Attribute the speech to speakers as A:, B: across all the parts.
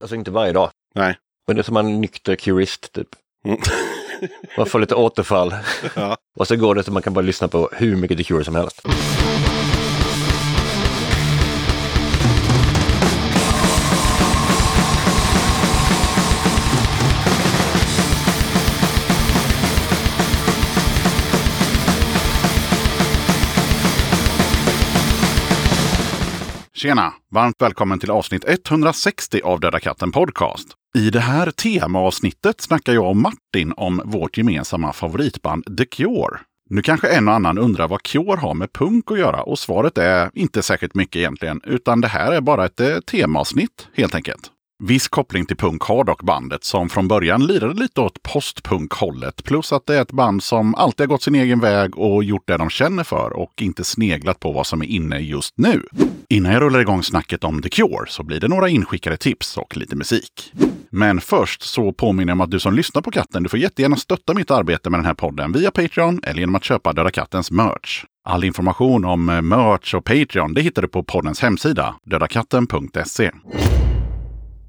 A: Alltså inte varje dag.
B: Nej.
A: Men det är som en nykter kurist typ.
B: Mm.
A: Man får lite återfall.
B: Ja.
A: Och så går det att man kan bara lyssna på hur mycket The Cure som helst.
B: Tjena! Varmt välkommen till avsnitt 160 av Döda katten Podcast. I det här temaavsnittet snackar jag och Martin om vårt gemensamma favoritband The Cure. Nu kanske en och annan undrar vad Cure har med punk att göra och svaret är inte särskilt mycket egentligen, utan det här är bara ett eh, temaavsnitt helt enkelt. Viss koppling till punk har dock bandet som från början lirade lite åt postpunkhållet. Plus att det är ett band som alltid har gått sin egen väg och gjort det de känner för och inte sneglat på vad som är inne just nu. Innan jag rullar igång snacket om The Cure så blir det några inskickade tips och lite musik. Men först så påminner jag om att du som lyssnar på katten, du får jättegärna stötta mitt arbete med den här podden via Patreon eller genom att köpa Döda Kattens merch. All information om eh, merch och Patreon det hittar du på poddens hemsida, dödakatten.se.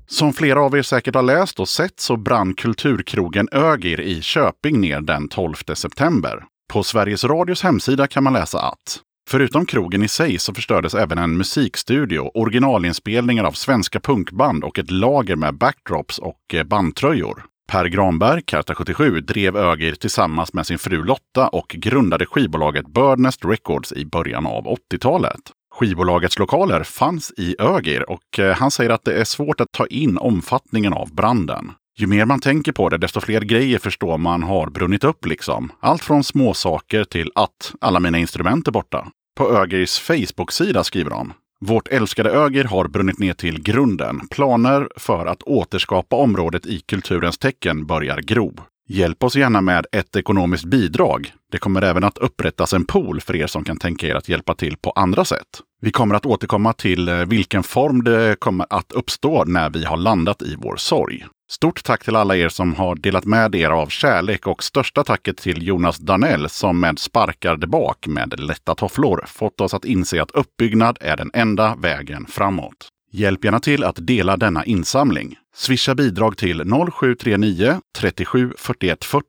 B: Som flera av er säkert har läst och sett så brann kulturkrogen Ögir i Köping ner den 12 september. På Sveriges Radios hemsida kan man läsa att Förutom krogen i sig så förstördes även en musikstudio, originalinspelningar av svenska punkband och ett lager med backdrops och eh, bandtröjor. Per Granberg, Karta 77, drev Ögir tillsammans med sin fru Lotta och grundade skivbolaget Birdnest Records i början av 80-talet. Skivbolagets lokaler fanns i Ögir och eh, han säger att det är svårt att ta in omfattningen av branden. Ju mer man tänker på det, desto fler grejer förstår man har brunnit upp liksom. Allt från småsaker till att alla mina instrument är borta. På Ögirs Facebook-sida skriver de vårt älskade Ögir har brunnit ner till grunden. Planer för att återskapa området i kulturens tecken börjar gro. Hjälp oss gärna med ett ekonomiskt bidrag. Det kommer även att upprättas en pool för er som kan tänka er att hjälpa till på andra sätt. Vi kommer att återkomma till eh, vilken form det kommer att uppstå när vi har landat i vår sorg. Stort tack till alla er som har delat med er av kärlek och största tacket till Jonas Danell som med sparkar där bak med lätta tofflor fått oss att inse att uppbyggnad är den enda vägen framåt. Hjälp gärna till att dela denna insamling. Swisha bidrag till 0739 37 41 40.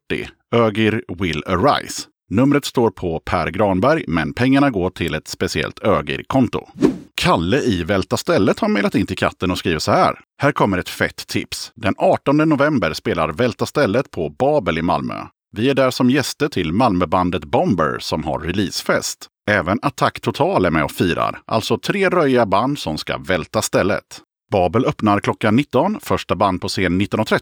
B: Ögir will arise. Numret står på Per Granberg, men pengarna går till ett speciellt Ögir-konto. Kalle i Välta stället har mejlat in till katten och skriver så här. Här kommer ett fett tips. Den 18 november spelar Välta stället på Babel i Malmö. Vi är där som gäster till Malmöbandet Bomber som har releasefest. Även Attack Total är med och firar, alltså tre röja band som ska välta stället. Babel öppnar klockan 19, första band på scen 19.30.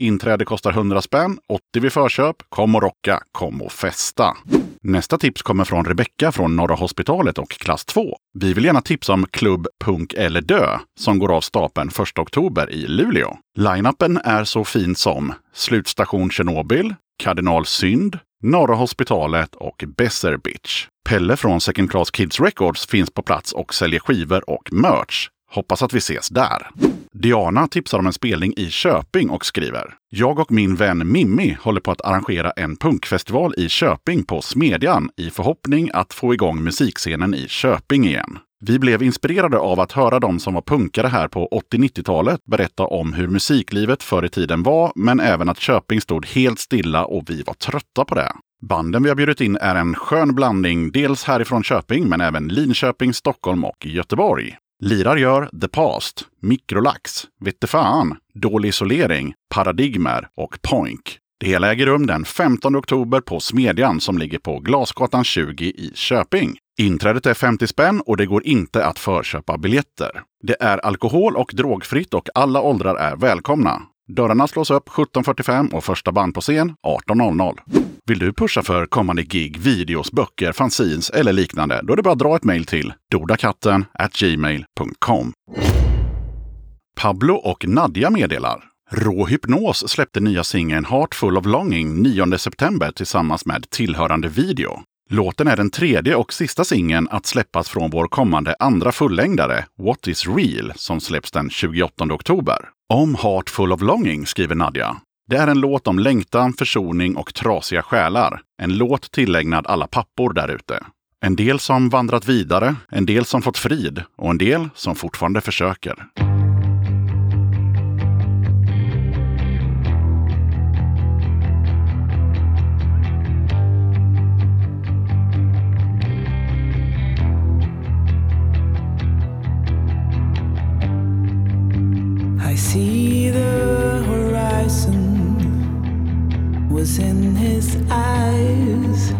B: Inträde kostar 100 spänn, 80 vid förköp. Kom och rocka, kom och festa! Nästa tips kommer från Rebecka från Norra Hospitalet och klass 2. Vi vill gärna tipsa om Klubb Punk eller Dö som går av stapeln 1 oktober i Luleå. Line-upen är så fin som Slutstation Tjernobyl, Kardinal Synd, Norra Hospitalet och Besser Bitch. Pelle från Second Class Kids Records finns på plats och säljer skivor och merch. Hoppas att vi ses där. Diana tipsar om en spelning i Köping och skriver. Jag och min vän Mimmi håller på att arrangera en punkfestival i Köping på Smedjan i förhoppning att få igång musikscenen i Köping igen. Vi blev inspirerade av att höra de som var punkare här på 80-90-talet berätta om hur musiklivet förr i tiden var, men även att Köping stod helt stilla och vi var trötta på det. Banden vi har bjudit in är en skön blandning, dels härifrån Köping, men även Linköping, Stockholm och Göteborg. Lirar gör The Past, Mikrolax, Vette fan, Dålig isolering, Paradigmer och Poink. Det hela äger rum den 15 oktober på Smedjan som ligger på Glasgatan 20 i Köping. Inträdet är 50 spänn och det går inte att förköpa biljetter. Det är alkohol och drogfritt och alla åldrar är välkomna. Dörrarna slås upp 17.45 och första band på scen 18.00. Vill du pusha för kommande gig, videos, böcker, fanzines eller liknande? Då är det bara att dra ett mejl till dodakatten gmail.com. Pablo och Nadja meddelar. Rå Hypnos släppte nya singeln Heartful of Longing 9 september tillsammans med tillhörande video. Låten är den tredje och sista singeln att släppas från vår kommande andra fullängdare, What is real, som släpps den 28 oktober. Om Heartful of Longing skriver Nadja. Det är en låt om längtan, försoning och trasiga själar. En låt tillägnad alla pappor där ute. En del som vandrat vidare, en del som fått frid och en del som fortfarande försöker.
C: see the horizon was in his eyes.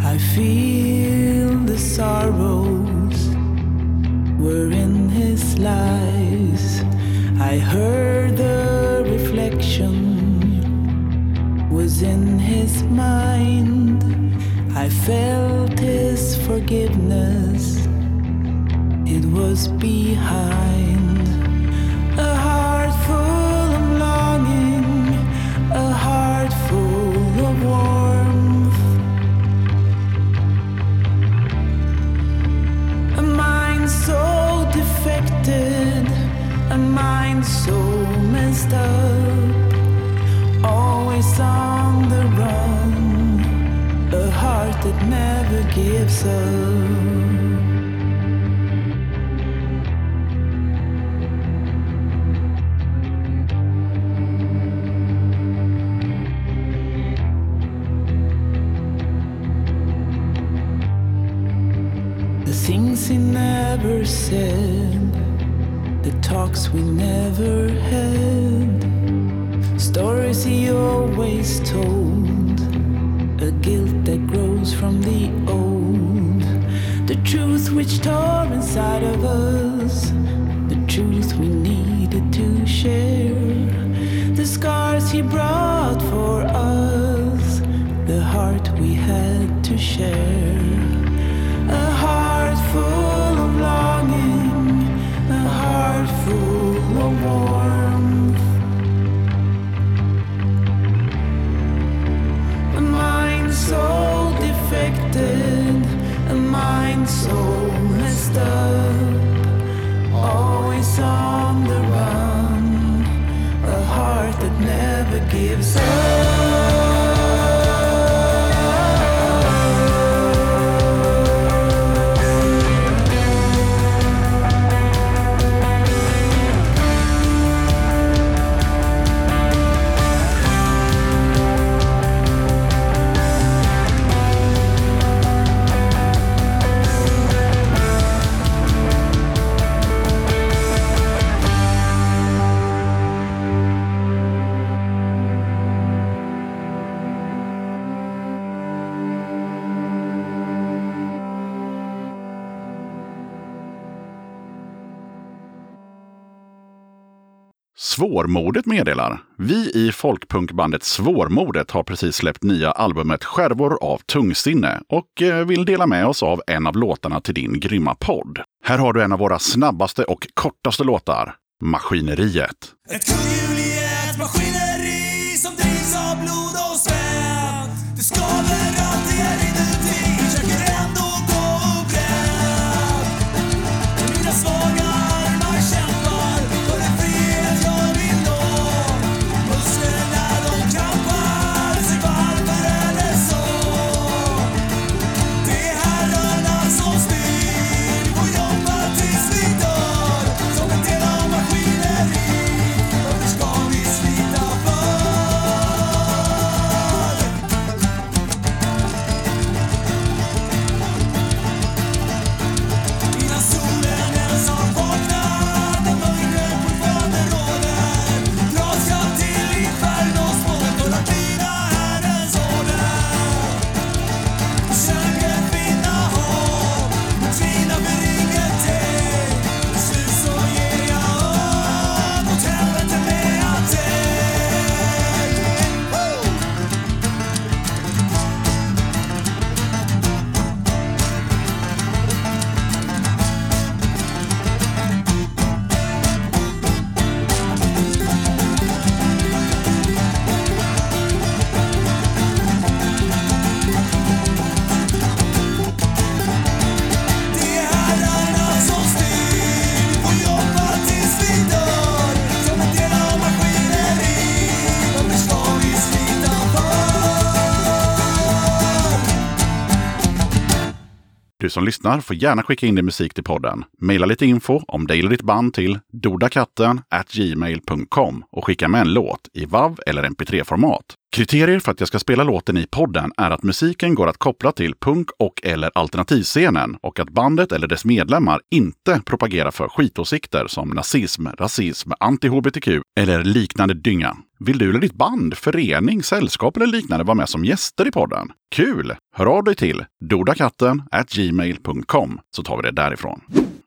C: I feel the sorrows were in his lies. I heard the reflection was in his mind. I felt his forgiveness, it was behind. A heart full of longing, a heart full of warmth, a mind so defected, a mind so messed up, always on the run, a heart that never gives up. The things he never said, the talks we never had, stories he always told, a guilt that grows from the old, the truth which tore inside of us, the truth we needed to share, the scars he brought for us, the heart we had to share. A heart full of longing, a heart full of warmth. A mind so defected, a mind so messed up. Always on the run, a heart that never gives up.
D: Svårmodet meddelar. Vi i folkpunkbandet Svårmodet har precis släppt nya albumet Skärvor av tungsinne och eh, vill dela med oss av en av låtarna till din grymma podd. Här har du en av våra snabbaste och kortaste låtar, Maskineriet.
E: Ett kohjulighet maskineri som drivs av blod och svett Det skaver alltid här inuti, försöker ändå gå upprätt Men mina svaga armar kämpar för den frihet jag vill nå Musklerna de krampar sig varma eller så Det är herrarna som styr, får jobba tills vi dör Som en del av maskineriet varför ska vi slita för? Innan solen ens har vaknat och mörkret fortfarande råder dras jag till infernos mål för att lyda Herrens order. Kärlek vinna hopp, mot tvivlar blir ingenting. Till slut så ger jag upp, åt helvete med allting. Woo! Det är herrarna som styr, får jobba tills vi dör Som en del av maskineriet, varför ska vi slita för?
D: Du som lyssnar får gärna skicka in din musik till podden. Maila lite info om dig eller ditt band till dodakatten gmail.com och skicka med en låt i WAV eller MP3-format.
B: Kriterier för att jag ska spela låten i podden är att musiken går att koppla till punk och eller alternativscenen och att bandet eller dess medlemmar inte propagerar för skitåsikter som nazism, rasism, anti-hbtq eller liknande dynga. Vill du eller ditt band, förening, sällskap eller liknande vara med som gäster i podden? Kul! Hör av dig till dodakatten gmail.com så tar vi det därifrån.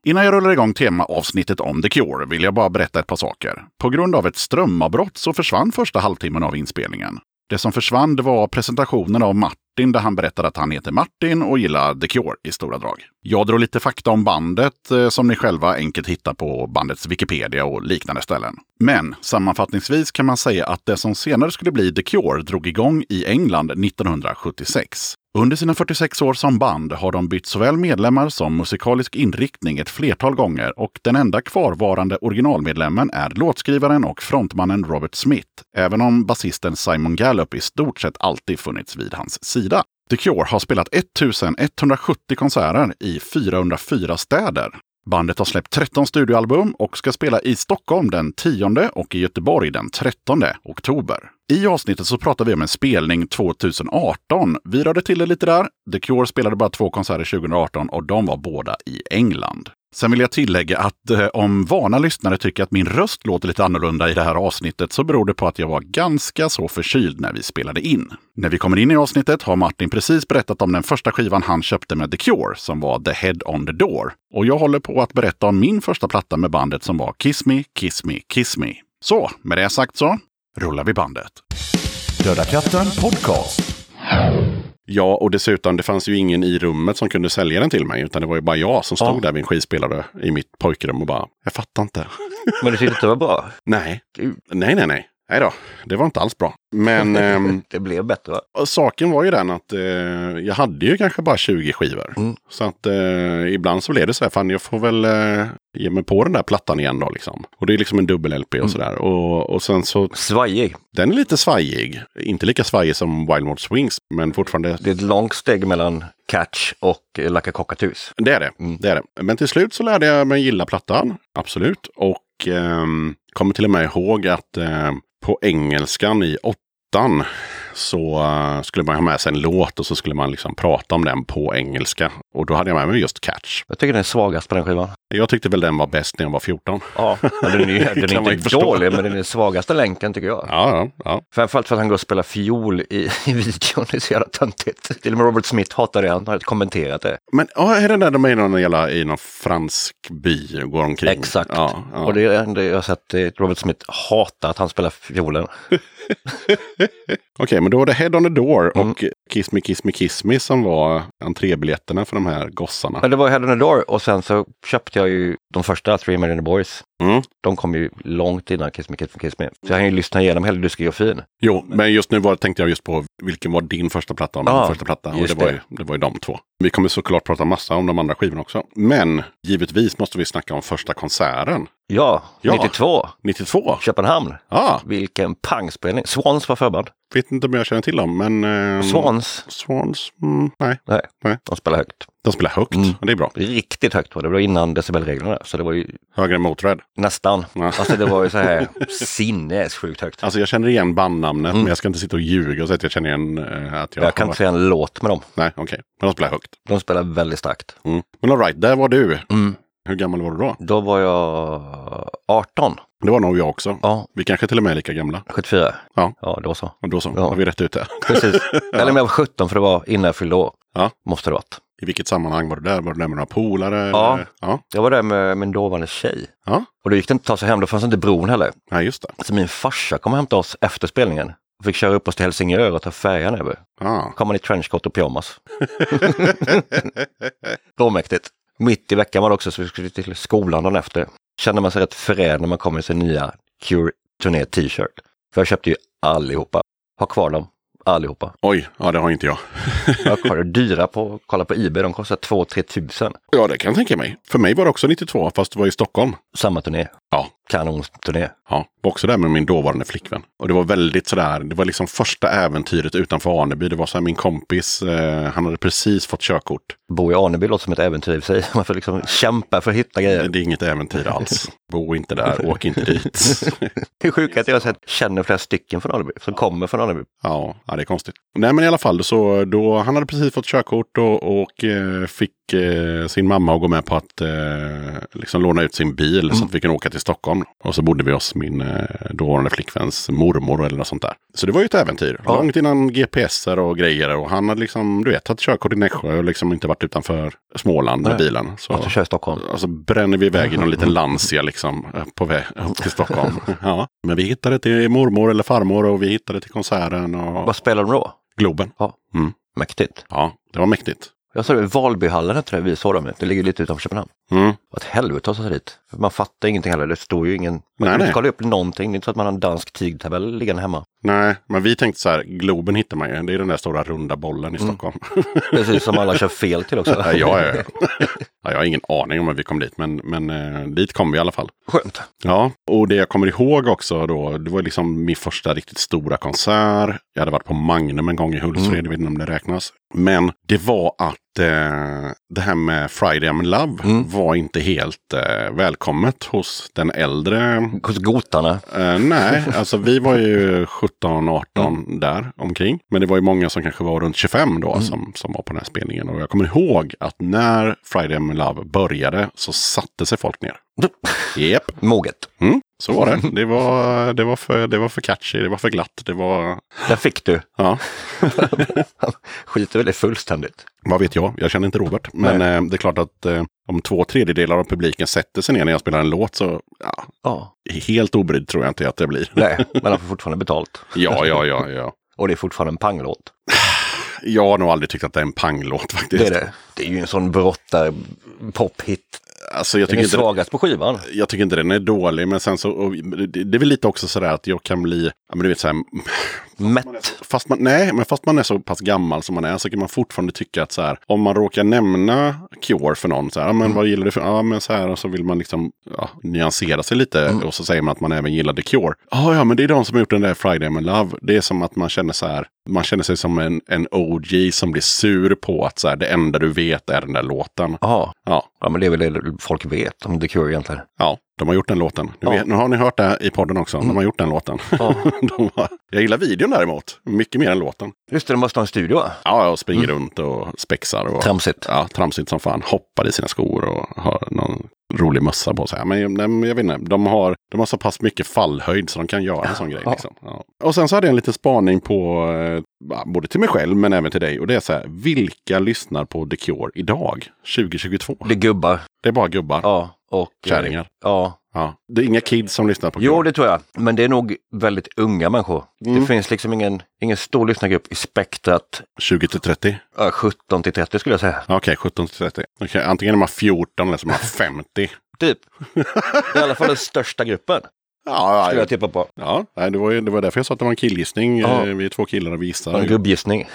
B: Innan jag rullar igång temaavsnittet om The Cure vill jag bara berätta ett par saker. På grund av ett strömavbrott så försvann första halvtimmen av inspelningen. Det som försvann det var presentationen av Martin där han berättade att han heter Martin och gillar The Cure i stora drag. Jag drog lite fakta om bandet eh, som ni själva enkelt hittar på bandets Wikipedia och liknande ställen. Men sammanfattningsvis kan man säga att det som senare skulle bli The Cure drog igång i England 1976. Under sina 46 år som band har de bytt såväl medlemmar som musikalisk inriktning ett flertal gånger och den enda kvarvarande originalmedlemmen är låtskrivaren och frontmannen Robert Smith, även om basisten Simon Gallup i stort sett alltid funnits vid hans sida. The Cure har spelat 1170 konserter i 404 städer. Bandet har släppt 13 studioalbum och ska spela i Stockholm den 10 och i Göteborg den 13 oktober. I avsnittet så pratar vi om en spelning 2018. Vi rörde till det lite där. The Cure spelade bara två konserter 2018 och de var båda i England. Sen vill jag tillägga att eh, om vana lyssnare tycker att min röst låter lite annorlunda i det här avsnittet så beror det på att jag var ganska så förkyld när vi spelade in. När vi kommer in i avsnittet har Martin precis berättat om den första skivan han köpte med The Cure som var The Head on the Door. Och jag håller på att berätta om min första platta med bandet som var Kiss Me, Kiss Me, Kiss Me. Så, med det sagt så rullar vi bandet. Döda katten podcast. Ja, och dessutom det fanns ju ingen i rummet som kunde sälja den till mig. Utan det var ju bara jag som stod
A: Ja.
B: där vid en skivspelare i mitt pojkrum och bara, jag fattar inte.
A: Men du tyckte att det var bra?
B: Nej, nej, nej, nej. Nej då, det var inte alls bra. Men ehm,
A: det blev bättre va?
B: saken var ju den att eh, jag hade ju kanske bara 20 skivor.
A: Mm.
B: Så att eh, ibland så blev det så här, fan jag får väl eh, ge mig på den där plattan igen då liksom. Och det är liksom en dubbel-LP och sådär. Och, och sen så,
A: Svajig.
B: den är lite svajig. Inte lika svajig som Wildmore Swings, men fortfarande
A: Det är ett långt steg mellan Catch och eh, Lacka Cockatus.
B: Det är det. det är det. Men till slut så lärde jag mig gilla plattan. Absolut. Och ehm, kommer till och med ihåg att ehm, på engelskan i åttan så eh, skulle man ha med sig en låt och så skulle man liksom prata om den på engelska. Och då hade jag med mig just Catch.
A: Jag tycker den är svagast på den skivan.
B: Jag tyckte väl den var bäst när jag var 14.
A: Ja, men den är, den
B: Kan man
A: är
B: ju
A: inte
B: förstå.
A: dålig, men den är den svagaste länken tycker jag.
B: Ja, ja, ja.
A: Framförallt för att han går och spelar fiol i, i videon, det är så jävla töntigt. Till och med Robert Smith hatar det, han har kommenterat det.
B: Men ja, är det där de är i någon, jävla, i någon fransk by och går omkring?
A: Exakt.
B: Ja, ja.
A: Och det är det enda jag har sett, eh, Robert Smith hatar att han spelar fiolen.
B: Okej, men då var det Head on the Door och Kiss Me Kiss Me Kiss Me som var entrébiljetterna för de här gossarna.
A: Men det var Head on the Door och sen så köpte jag ju de första, Three Men and the Boys.
B: Mm.
A: De kom ju långt innan Kiss Me Kiss Me Kiss Me. Så jag hann ju lyssna igenom hela diskografin.
B: Jo, men just nu var, tänkte jag just på vilken var din första platta och min
A: Ja,
B: första platta. Och det,
A: just
B: Var ju,
A: det.
B: det var ju de två. Vi kommer såklart prata massa om de andra skivorna också. Men givetvis måste vi snacka om första konserten.
A: Ja,
B: Ja.
A: 92,
B: 92.
A: Köpenhamn.
B: Ja,
A: Vilken pangspelning. Swans var förband.
B: vet inte om jag känner till dem, men... ehm,
A: Swans,
B: Swans? Mm, nej,
A: nej,
B: Nej.
A: de spelar högt.
B: de spelar högt.
A: Mm.
B: Och det är bra.
A: Riktigt högt var det, det var innan decibelreglerna. Så det var ju
B: Högre än Motörhead.
A: nästan.
B: Ja.
A: Alltså det var ju så här sinnessjukt högt.
B: Alltså jag känner igen bandnamnet, men jag ska inte sitta och ljuga och säga att jag känner igen eh, att jag...
A: Mm. Jag kan inte säga en låt med dem.
B: Nej, okej. Men de spelar högt.
A: De spelar väldigt starkt.
B: Mm. Men alright, där var du.
A: Mm.
B: Hur gammal var du då?
A: Då var jag 18.
B: Det var nog jag också.
A: Ja,
B: Vi kanske till och med är lika gamla.
A: 74.
B: Ja.
A: ja då så.
B: Och då så,
A: Ja.
B: har vi rätt ut det.
A: Precis. Eller om jag var 17 för det var innan jag fyllde år.
B: Ja.
A: Måste det varit.
B: I vilket sammanhang var du där? Var du där med några polare?
A: Ja.
B: eller? ja.
A: Jag var där med min dåvarande tjej.
B: Ja.
A: Och då gick det inte att ta sig hem, då fanns inte bron heller.
B: Ja, just det.
A: Så min farsa kom och hämtade oss efter spelningen. Och fick köra upp oss till Helsingör och ta färjan över.
B: Ja.
A: Kom han i trenchcoat och pyjamas. Då mäktigt. Mitt i veckan var det också så vi skulle till skolan dagen efter. Kände man sig rätt förrädd när man kom i sin nya Cure Turné t-shirt. För jag köpte ju allihopa. Har kvar dem. Allihopa.
B: Oj, ja det har inte jag.
A: Jag har kvar det dyra på, kolla på Ebay, de kostar 2-3 tusen.
B: Ja, det kan jag tänka mig. För mig var det också 92, fast det var i Stockholm.
A: Samma turné.
B: Ja.
A: Kanonturné.
B: Ja, var också där med min dåvarande flickvän. Och det var väldigt sådär, det var liksom första äventyret utanför Aneby. Det var såhär min kompis, eh, han hade precis fått körkort.
A: Bo i Aneby låter som ett äventyr i sig. Man får liksom kämpa för att hitta
B: Nej,
A: grejer.
B: Det är inget äventyr alls. Bo inte där, åk inte dit.
A: Det är sjukt att jag så här känner flera stycken från Aneby som kommer från Aneby.
B: Ja, ja, det är konstigt. Nej, men i alla fall så då, han hade precis fått körkort och, och eh, fick eh, sin mamma att gå med på att eh, liksom låna ut sin bil så
A: Mm.
B: att vi kunde åka till Stockholm. Och så bodde vi hos min eh, dåvarande flickväns mormor eller något sånt där. Så det var ju ett äventyr.
A: Ja.
B: Långt innan GPSer och grejer. Och han hade liksom, du vet, tagit körkort i Nässjö och liksom inte varit utanför Småland med
A: Nej.
B: bilen. Så.
A: Och så kör jag Stockholm.
B: Och så Alltså, bränner vi iväg i någon liten Lancia liksom eh, på väg upp till Stockholm. Ja. Men vi hittade till mormor eller farmor och vi hittade till konserten och
A: Vad spelar de då?
B: Globen.
A: Mäktigt.
B: Ja, det var mäktigt.
A: Jag såg det i Valbyhallen, tror jag vi såg dem. Det ligger lite utanför Köpenhamn.
B: Mm.
A: Åt helvete att ta sig dit. För Man fattar ingenting heller. Det står ju ingen... Man
B: Nej,
A: kan
B: nej.
A: inte kolla upp någonting. Det är inte så att man har en dansk tigtabell liggande hemma.
B: Nej, men vi tänkte så här, Globen hittar man ju. Det är den där stora runda bollen i Stockholm.
A: Precis som alla kör fel till också.
B: ja, ja, ja. ja, jag har ingen aning om hur vi kom dit, men, men eh, dit kom vi i alla fall.
A: Skönt.
B: Ja, och det jag kommer ihåg också då, det var liksom min första riktigt stora konsert. Jag hade varit på Magnum en gång i Hultsfred, jag vet inte om det räknas. Men det var att eh, det här med Friday I'm in Love
A: Mm.
B: var inte helt eh, välkommet hos den äldre
A: Hos gotarna.
B: Eh, nej, alltså vi var ju 17-18 där omkring. Men det var ju många som kanske var runt 25 då som, som var på den här spelningen. Och jag kommer ihåg att när Friday I'm in Love började så satte sig folk ner. Jep,
A: Moget.
B: mm, så var det. Det var, det, var för, det var för catchy, det var för glatt, det var...
A: Där fick du.
B: Ja,
A: Han skiter väl det fullständigt.
B: vad vet jag? Jag känner inte Robert. Men eh, det är klart att eh, om två tredjedelar av publiken sätter sig ner när jag spelar en låt så ja,
A: Ja.
B: helt obrydd tror jag inte att jag blir.
A: Nej, men han får fortfarande betalt.
B: Ja, ja, ja, ja.
A: Och det är fortfarande en panglåt.
B: Jag har nog aldrig tyckt att det är en panglåt faktiskt.
A: Det är det. Det är ju en sån brottar pophit.
B: Alltså, jag,
A: Den
B: tycker
A: är
B: inte,
A: svagast på skivan.
B: jag tycker inte den är dålig, men sen så, och, det, det är väl lite också sådär att jag kan bli, ja, men du vet såhär,
A: Mätt.
B: fast man, nej, men fast man är så pass gammal som man är så kan man fortfarande tycka att så här, om man råkar nämna Cure för någon, så här, ja, men vad gillar du för, ja men så här, och så vill man liksom ja, nyansera sig lite och så säger man att man även gillade Cure. Ja, ja, men det är de som har gjort den där Friday I'm in Love. Det är som att man känner så här, man känner sig som en, en OG som blir sur på att så här, det enda du vet är den där låten.
A: Ja.
B: Ja,
A: ja, men det är väl det folk vet om The Cure egentligen.
B: Ja, de har gjort den låten. Nu,
A: Ja.
B: vet, nu har ni hört det i podden också. De har gjort den låten.
A: Ja.
B: de har, jag gillar videon däremot. Mycket mer än låten.
A: Just det, de måste ha en studio va?
B: Ja, jag springer runt och spexar. Och,
A: Tramsigt.
B: ja, tramsigt som fan. Hoppar i sina skor och har någon rolig mössa på sig. Men nej, men jag vet inte, de har, de har så pass mycket fallhöjd så de kan göra en sån grej.
A: Ja.
B: Liksom. Ja. Och sen så hade jag en liten spaning på, eh, ja, både till mig själv men även till dig. Och det är så här, vilka lyssnar på The Cure idag? 2022?
A: Det är gubbar.
B: Det är bara gubbar.
A: Ja. Och, eh,
B: Kärringar.
A: Ja.
B: Ja. Det är inga kids som lyssnar på
A: Jo, det tror jag. Men det är nog väldigt unga människor. Det
B: Mm.
A: finns liksom ingen, ingen stor lyssnargrupp i spektrat
B: 20 till 30?
A: ja, 17 till 30 skulle jag säga.
B: Ja, Okej, 17 till 30. Okej, antingen är man 14 eller så är man 50.
A: Typ. I alla fall den största gruppen
B: Ja,
A: skulle
B: ja,
A: jag tippa på.
B: ja. Nej, det, var ju, det var därför jag sa att det var en killgissning.
A: Ja.
B: Eh, Vi är två killar och vi gissar.
A: En gubbgissning.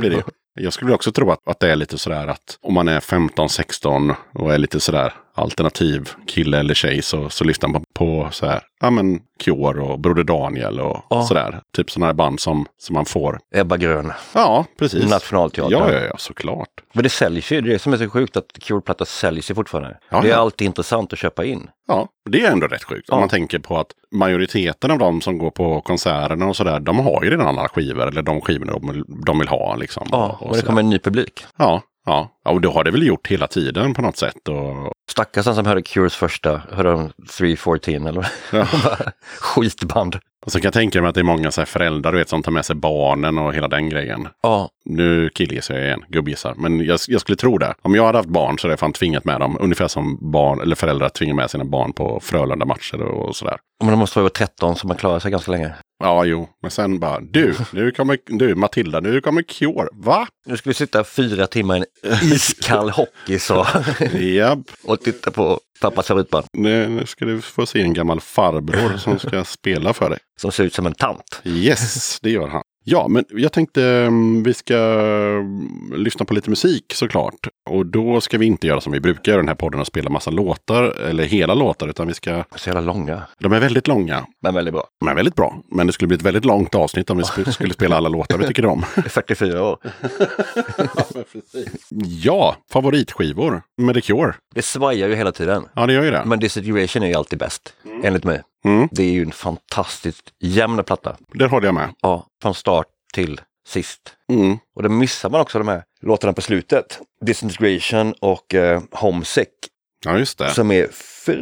B: blir det ju. Jag skulle också tro att, att det är lite sådär att om man är 15, 16 och är lite sådär alternativ kille eller tjej så, så lyssnar man på så här, ja men Cure och Broder Daniel och
A: Ja.
B: sådär. Typ sådana här band som, som man får.
A: Ebba Grön,
B: Ja, precis.
A: Nationalteatern.
B: Ja, ja, ja, såklart.
A: Men det säljs ju, det är det som är så sjukt att Cure-plattor säljs ju fortfarande.
B: Ja,
A: det är
B: ja.
A: alltid intressant att köpa in.
B: Ja, det är ändå rätt sjukt. Om
A: Ja.
B: man tänker på att majoriteten av de som går på konserterna och sådär, de har ju redan alla skivor eller de skivorna de, de vill ha. Liksom,
A: Ja,
B: och
A: och det
B: sådär.
A: kommer en ny publik.
B: ja, ja. ja, och det har det väl gjort hela tiden på något sätt. Och,
A: Stackarsen som hörde Cures första, hörde de 314 eller
B: Ja.
A: vad? Skitband.
B: och så kan jag tänka mig att det är många så här föräldrar du vet, som tar med sig barnen och hela den grejen.
A: Ja,
B: Nu killgissar jag igen, gubbgissar. Men jag, jag skulle tro det. Om jag hade haft barn så hade jag fan tvingat med dem. Ungefär som barn, eller föräldrar tvingar med sina barn på Frölunda-matcher och sådär.
A: men de måste vara över 13 så man klarar sig ganska länge.
B: Ja, jo, men sen bara du, nu kommer, du Matilda, nu kommer Cure. Va?
A: Nu ska vi sitta fyra timmar i en iskall hockey så,
B: Japp,
A: och titta på pappas favoritband
B: nu, nu ska du få se en gammal farbror som ska spela för dig.
A: som ser ut som en tant.
B: Yes, det gör han. Ja, men jag tänkte mm, vi ska mm, lyssna på lite musik såklart. Och då ska vi inte göra som vi brukar göra i den här podden och spela massa låtar, eller hela låtar, utan vi ska...
A: Så jävla långa,
B: De är väldigt långa,
A: men väldigt bra.
B: men väldigt bra. Men det skulle bli ett väldigt långt avsnitt om vi sp- skulle spela alla låtar vi tycker om.
A: 44 år.
B: ja, favoritskivor med The Cure.
A: Det svajar ju hela tiden.
B: Ja, det gör ju det.
A: Men Disituation är ju alltid bäst, enligt mig.
B: Mm.
A: Det är ju en fantastiskt jämn platta.
B: Det håller jag med.
A: Ja, från start till sist.
B: Mm.
A: Och då missar man också de här låtarna på slutet. Disintegration och eh, Homesick
B: Ja, just det.
A: som är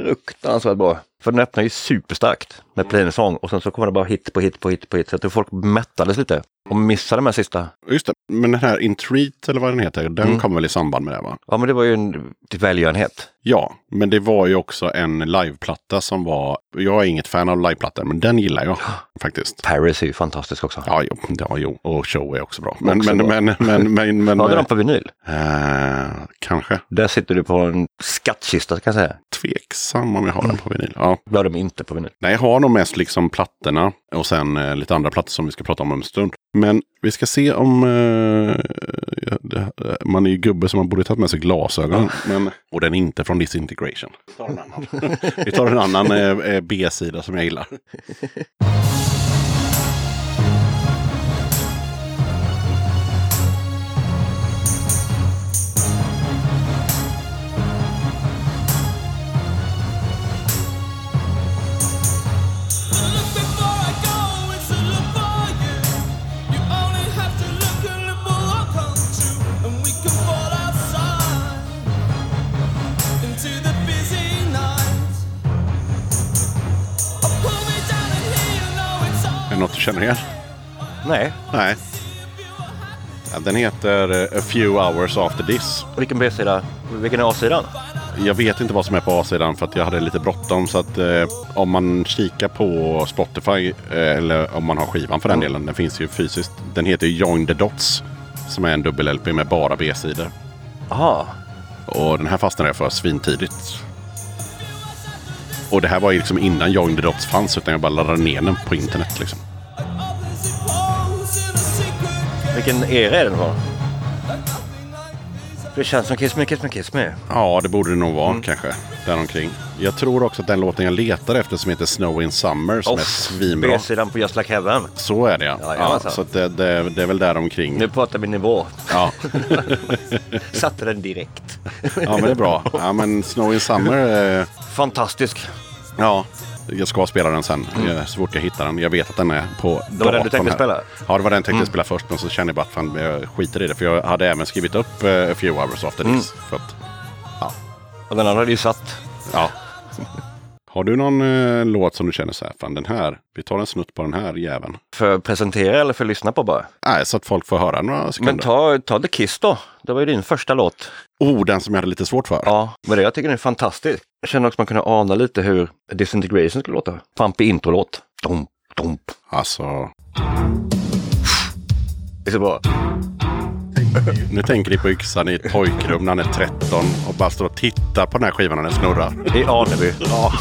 A: fruktansvärt bra. För den öppnar ju superstarkt med Plain Song och sen så kommer det bara hit på hit på hit på hit. Så att folk mättades lite och missade de här sista.
B: Just det. Men den här Intreat, eller vad den heter, den
A: Mm.
B: kom väl i samband med det, va?
A: Ja, men det var ju en typ välgörenhet.
B: Ja, men det var ju också en liveplatta som var... Jag är inget fan av liveplattor, men den gillar jag faktiskt.
A: Paris är ju fantastisk också.
B: Ja, jo, ja, jo. och show är också bra. Men,
A: Också
B: men,
A: bra.
B: men, men, men, men,
A: Har du dem på vinyl?
B: eh, kanske.
A: Där sitter du på en skattkista kan jag säga.
B: Tveksam om jag har
A: Mm.
B: den på vinyl. Ja.
A: Då har de inte på vinyl.
B: Nej, jag har nog mest liksom plattorna och sen eh, lite andra plattor som vi ska prata om om en stund. Men vi ska se om... Eh, ja, det, eh, man är ju gubbe så man borde tagit med sig glasögon. Men, och den är inte från Disintegration. Vi tar en annan, vi tar en annan eh, eh, B-sida som jag gillar.
E: Oh,
B: Är det något du känner igen?
A: Nej.
B: Nej. Ja, Den heter eh, A few hours after this.
A: Vilken B-sida? Vilken är A-sidan?
B: Jag vet inte vad som är på A-sidan för att jag hade lite bråttom. Så att eh, om man kikar på Spotify eh, eller om man har skivan för den delen. Den finns ju fysiskt. Den heter ju Join the Dots. Som är en dubbel-LP med bara B-sidor.
A: Jaha.
B: Och den här fastnade jag för svintidigt. Och det här var ju liksom innan Join the Dots fanns. Utan jag bara laddade ner den på internet liksom.
A: Vilken era är den från? Det känns som Kiss Me, Kiss Me, Kiss Me.
B: Ja, det borde det nog
A: Mm.
B: vara kanske. Däromkring. Jag tror också att den låten jag letar efter som heter Snow in Summer
A: Oh,
B: som är svinbra.
A: B-sidan på Just Like Heaven.
B: Så är det ja. ja,
A: Jajamensan.
B: så att det, det, det är väl däromkring.
A: Nu pratar vi nivå.
B: Ja.
A: Satte den direkt.
B: ja, men det är bra. Ja, men Snow in Summer. Eh,
A: Fantastisk.
B: ja, jag ska spela den sen. eh, Så fort jag hittar den. Jag vet att den är på
A: Det Mm. var den du
B: datorn
A: tänkte
B: här.
A: spela? Mm.
B: Ja, det var den jag tänkte spela först. Men så kände jag bara att fan, jag skiter i det. För jag hade även skrivit upp eh, A few hours after
A: Mm.
B: this. För att,
A: Och den andra hade ju satt.
B: ja. Har du någon eh, låt som du känner så här, fan den här, vi tar en snutt på den här jäveln.
A: För att presentera eller för att lyssna på bara.
B: Nej, så att folk får höra några sekunder.
A: Men ta, ta The Kiss då. Det var ju din första låt.
B: Oh, den som jag hade lite svårt för.
A: Ja, men det jag tycker den är fantastisk. Jag känner också att man kunde ana lite hur Disintegration skulle låta. Pampig introlåt. Domp, domp.
B: Alltså,
A: Det är så bra.
B: nu tänker ni på yxan i ett pojkrum när han är 13 och bara står och tittar på den här skivan när den snurrar.
A: I Aneby.
B: Ja.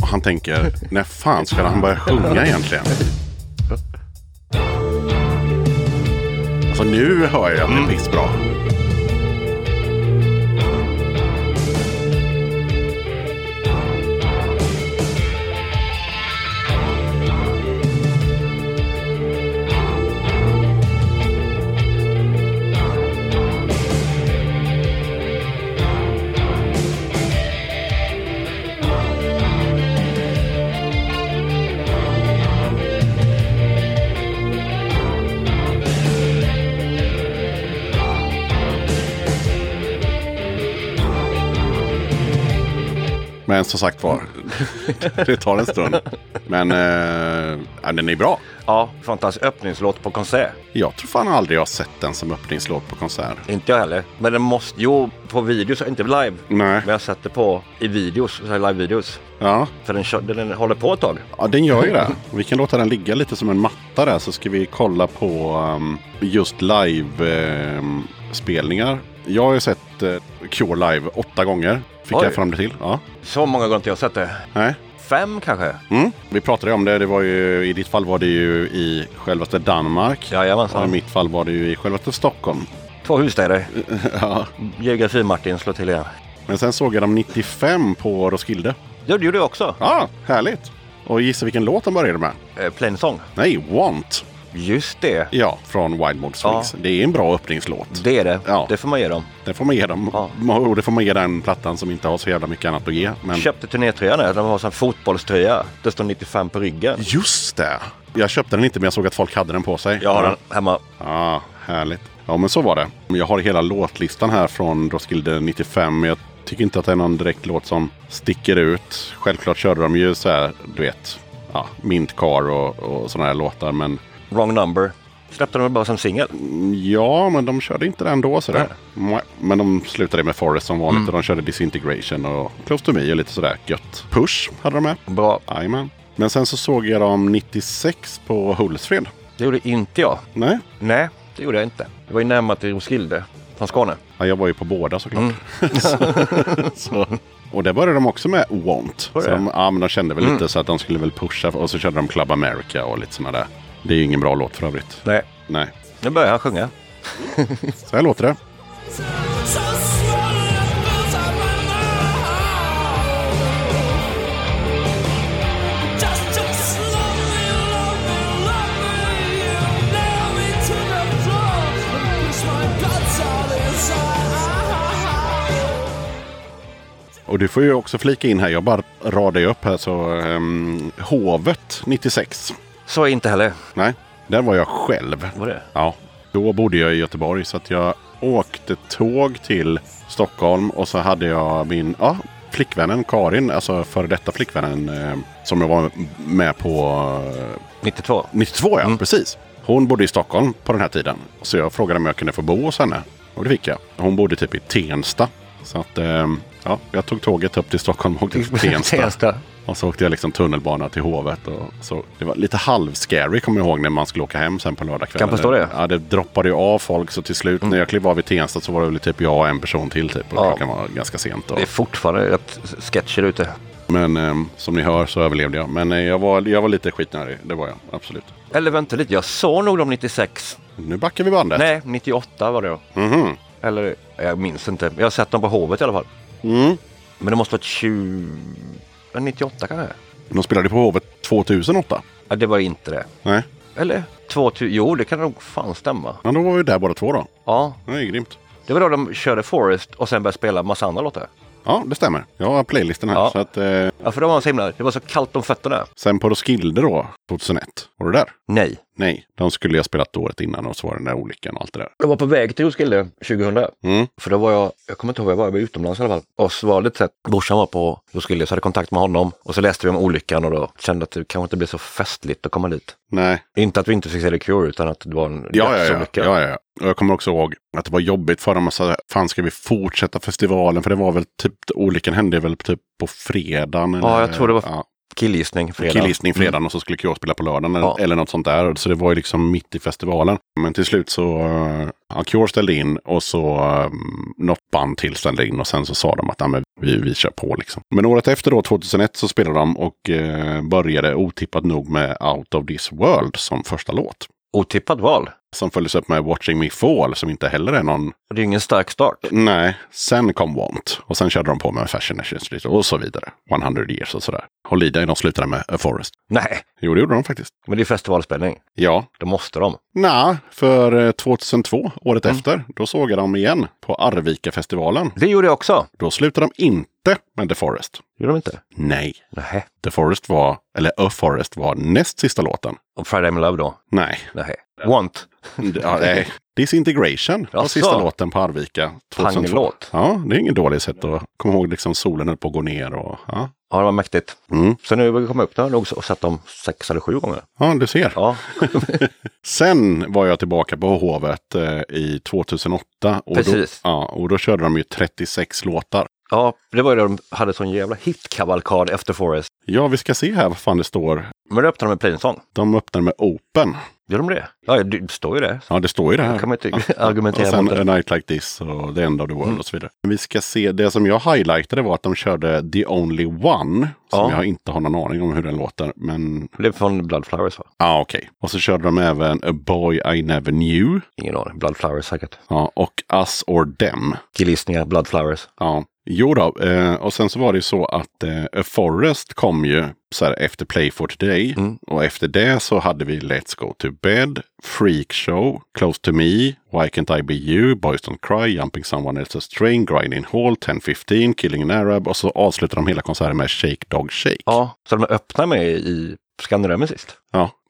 B: Och Han tänker, när fan ska han börja sjunga egentligen? Alltså nu hör jag att
A: Mm.
B: det är pissbra. Men som sagt var, det tar en stund. Men eh, ja, den är bra.
A: Ja, Fantas öppningslåt på konsert.
B: Jag tror fan aldrig jag har sett den som öppningslåt på konsert.
A: Inte jag heller. Men den måste... Jo, på videos, inte live.
B: Nej.
A: Men jag sätter på i videos, så här live-videos.
B: Ja.
A: För den, kör- den håller på ett tag.
B: ja, den gör ju det. Vi kan låta den ligga lite som en matta där så ska vi kolla på ehm, just live-spelningar. jag har ju sett uh, Cure live åtta gånger. Fick
A: Oj.
B: jag fram det till. Ja.
A: Så många gånger har inte jag sett det.
B: Nej.
A: Fem kanske?
B: Mm. Vi pratade ju om det. det var ju, I ditt fall var det ju i självaste Danmark. Och i
A: Jajamensan.
B: mitt fall var det ju i självaste Stockholm.
A: Två husstäder.
B: ja.
A: Geografi-Martin slår till igen.
B: Men sen såg jag dem 95 på Roskilde.
A: Ja, det gjorde jag också.
B: Ja, härligt! Och gissa vilken låt de började med?
A: Eh, Plain Song.
B: Nej, Want!
A: Just det.
B: Ja, från Wild Mode Swings. Det är en bra öppningslåt.
A: Det är det.
B: Ja.
A: Det får man ge dem.
B: Det får man ge dem.
A: Ja.
B: Och det får man ge den plattan som inte har så jävla mycket annat att ge. Men...
A: Köpte turnétröjan där. De har sån fotbollströja. Det står 95 på ryggen.
B: Just det! Jag köpte den inte men jag såg att folk hade den på sig.
A: Jag har den hemma.
B: Ja, härligt. Ja, men så var det. Jag har hela låtlistan här från Roskilde 95. Men jag tycker inte att det är någon direkt låt som sticker ut. Självklart körde de ju så här, du vet, ja, Mint Car och, och sådana här låtar. Men
A: Wrong number. Släppte de den bara som singel.
B: ja, men de körde inte den då sådär. Mwah. Men de slutade med Forest som
A: Mm.
B: vanligt och de körde Disintegration och Close to Me och lite sådär gött. Push hade de med.
A: Bra.
B: Jajamän. Men sen så såg jag dem 96 på Hultsfred.
A: Det gjorde inte jag.
B: Nej,
A: Nej, det gjorde jag inte. Det var ju närmare till Roskilde från Skåne.
B: Ja, jag var ju på båda såklart. så, så. Och där började de också med Want.
A: Mm. Var det? Mm.
B: Så de, ja, men de kände väl lite så att de skulle väl pusha. Och så körde de Club America och lite sådana där. Det är ju ingen bra låt för övrigt.
A: Nej,
B: Nej,
A: nu börjar han sjunga.
B: så här låter det.
E: So swallow the boots out my mouth. Just, just love me, love me, love me. You nail me to the floor and push my guts out inside.
B: Och du får ju också flika in här. Jag bara radar ju upp här. Så ehm, Hovet 96.
A: Så är inte heller.
B: Nej, där var jag själv.
A: Var det?
B: Ja, då bodde jag i Göteborg så att jag åkte tåg till Stockholm och så hade jag min ja, flickvännen Karin, alltså före detta flickvännen eh, som jag var med på eh,
A: 92.
B: 92 ja, precis. Hon bodde i Stockholm på den här tiden. Så jag frågade om jag kunde få bo hos henne. Och det fick jag. Hon bodde typ i Tensta. Så att, ehm, ja, jag tog tåget upp till Stockholm och åkte till Tensta.
A: Tensta.
B: Och så åkte jag liksom tunnelbana till Hovet. Och så, det var lite halvscary kommer jag ihåg när man skulle åka hem sen på lördagskvällen.
A: Kan förstå det. Mm.
B: Ja, det droppade ju av folk. Så till slut när jag klev av i Tensta så var det väl typ jag och en person till. Typ, och
A: Ja.
B: klockan var ganska sent. Och,
A: Det är fortfarande rätt sketcher ute.
B: men ehm, som ni hör så överlevde jag. Men eh, jag, var, jag var lite skitnödig. Det var jag, absolut.
A: Eller vänta lite, jag såg nog de 96.
B: Nu backar vi bandet.
A: Nej, 98 var det då.
B: Mhm.
A: Eller, jag minns inte. Jag har sett dem på Hovet i alla fall.
B: Mm.
A: Men det måste varit 20... ja, 98 kanske?
B: De spelade på Hovet 2008.
A: Ja, det var inte det.
B: Nej,
A: Eller? 2000... Jo, det kan nog fan stämma.
B: men då var vi där båda två då.
A: Ja,
B: Det är ju grymt.
A: det var då de körde Forest och sen började spela massa andra låtar.
B: Ja, det stämmer. Jag har playlisten här.
A: Ja.
B: Så att, eh,
A: Ja, för det var så himla... Det var så kallt om fötterna.
B: sen på Roskilde då, 2001. Var du där?
A: Nej.
B: Nej, de skulle jag spelat året innan och så var det den där olyckan och allt det där.
A: Jag var på väg till Roskilde 2000.
B: Mm.
A: För då var jag, jag kommer inte ihåg var jag var, jag var utomlands i alla fall. Och så var det lite så att brorsan var på Roskilde så hade jag kontakt med honom. Och så läste vi om olyckan och då kände att det kanske inte blev så festligt att komma dit.
B: Nej,
A: Inte att vi inte fick se The Cure utan att det var en
B: ja, ja, ja,
A: dödsolycka.
B: ja, ja. Och jag kommer också ihåg att det var jobbigt för dem. att säga, fan ska vi fortsätta festivalen? För det var väl typ, olyckan hände väl typ på fredagen. Eller,
A: jag tror det var
B: ja,
A: Killgissning fredag. Mm.
B: killgissning fredagen och så skulle Cure spela på lördagen eller-
A: Ja.
B: eller något sånt där. Så det var ju liksom mitt i festivalen. Men till slut så, eh, ja, Cure ställde in och så eh, något band till ställde in och sen så sa de att "Ja, men vi, vi kör på liksom. Men året efter då, 2001, så spelade de och eh, började otippat nog med Out of this world som första låt.
A: Otippat val.
B: Som följdes upp med Watching me fall som inte heller är någon
A: Det är ju ingen stark start.
B: Nej, sen kom Want. Och sen körde de på med Fashion Nations lite och så vidare. 100 years och sådär. Holiday, de slutade med A Forest.
A: Nej,
B: Jo, det gjorde de faktiskt.
A: men det är festivalspelning.
B: Ja,
A: Då måste de.
B: Nej, för eh, 2002, året efter, då såg jag dem igen på Arvika-festivalen.
A: Det gjorde jag också.
B: Då slutade de inte med The Forest.
A: Gjorde de inte?
B: Nej,
A: Nej.
B: The Forest var, eller A Forest var näst sista låten.
A: Och Friday I'm in Love då?
B: Nej,
A: Mm, Nej. Want.
B: ja, nej.
D: Disintegration var
A: Jaså?
D: sista låten på Arvika. 2002.
A: Panglåt.
D: Ja, det är ingen dålig sätt att komma ihåg liksom solen höll på att gå ner och ja.
A: Ja, det var mäktigt.
D: Mm.
A: Så nu vi kom upp, nu har jag nog sett dem sex eller sju gånger.
D: Ja, du ser.
A: Ja,
D: Sen var jag tillbaka på Hovet eh, i 2008. Och
A: Precis.
D: Då, ja, och då körde de ju 36 låtar.
A: ja det var ju det de hade sån jävla hitkavalkad efter Forest.
D: Ja, vi ska se här vad fan det står.
A: Men då öppnade de med Plainsong.
D: De öppnar med Open.
A: Gör de det? Ja, det står ju det.
D: Ja, det står ju det här.
A: Det kan man ju inte argumentera
D: Mm. och sen
A: mot det. Mm.
D: A Night Like This och The End of the World och så vidare. Men vi ska se, det som jag highlightade var att de körde The Only One. Som
A: Ja.
D: jag inte har någon aning om hur den låter. Men
A: Det är från Bloodflowers va?
D: ja, ah, okej. Och så körde de även A Boy I Never Knew.
A: Ingen aning. Bloodflowers säkert.
D: Ja, och Us or Them.
A: Killgissningar, Bloodflowers.
D: Ja, jo då. Eh, och sen så var det ju så att eh, A Forest kom ju så här efter Play for Today. Och efter det så hade vi Let's Go To Bed, Freak Show, Close To Me, Why Can't I Be You, Boys Don't Cry, Jumping Someone Else's Train, Grinding Hall, 1015, Killing an Arab. Och så avslutar de hela konserten med Shake Dog Shake. Ja,
A: Ja, så de öppnar med i Scandinavium sist.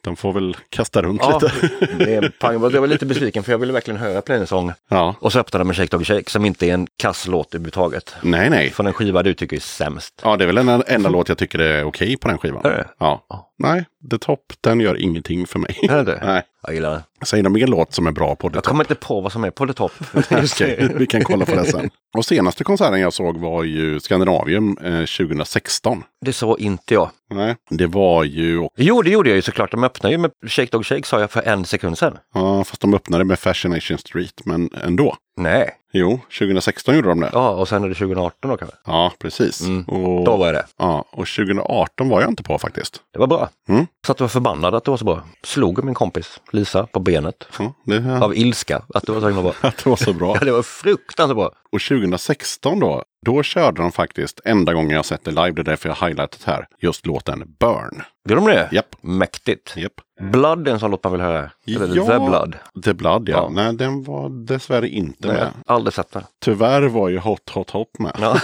D: de får väl kasta runt
A: Ja,
D: lite.
A: det är pang. Jag var lite besviken för jag ville verkligen höra Plainsong.
D: ja,
A: Och så öppnade de med Shake Dog Shake som inte är en kass låt överhuvudtaget.
D: nej nej.
A: Från en skiva du tycker är sämst.
D: Ja, det är väl den enda låt jag tycker är okej på den skivan.
A: Är det?
D: Ja.
A: Ja.
D: Nej, The Top, den gör ingenting för mig.
A: Är det?
D: Nej.
A: Jag gillar den.
D: Säg någon mer låt som är bra på det.
A: Jag kommer inte på vad som är på the top.
D: Okej, vi kan kolla på det sen. Och senaste konserten jag såg var ju Scandinavium eh, 2016.
A: Det såg inte jag.
D: Nej, det var ju,
A: Jo, det gjorde jag ju såklart. De öppnade ju med Shake Dog Shake sa jag för en sekund sedan.
D: ja, fast de öppnade med Fascination Street, men ändå.
A: Nej.
D: Jo, 2016 gjorde de det.
A: Ja, Mm. och sen är det 2018 då kanske.
D: Ja, precis.
A: Då
D: Och,
A: var jag det.
D: ja, och 2018 var jag inte på faktiskt.
A: Det var bra.
D: Mm.
A: Så att jag var förbannad att det var så bra. Slog min kompis Lisa på benet
D: Ja, det,
A: av ilska att det var så himla bra.
D: att det var så bra.
A: Ja, det var fruktansvärt bra.
D: Och 2016 då, då körde de faktiskt enda gången jag sett det live, det är därför jag har highlightat här, just låten Burn.
A: Gjorde de det?
D: Japp.
A: Mäktigt.
D: Japp.
A: Blood är en sån låt man vill höra. Eller
D: Ja.
A: The Blood.
D: The Blood, ja.
A: Ja.
D: Nej, den var dessvärre inte
A: Nej,
D: med.
A: aldrig sett den.
D: Tyvärr var ju Hot Hot Hot med.
A: Ja.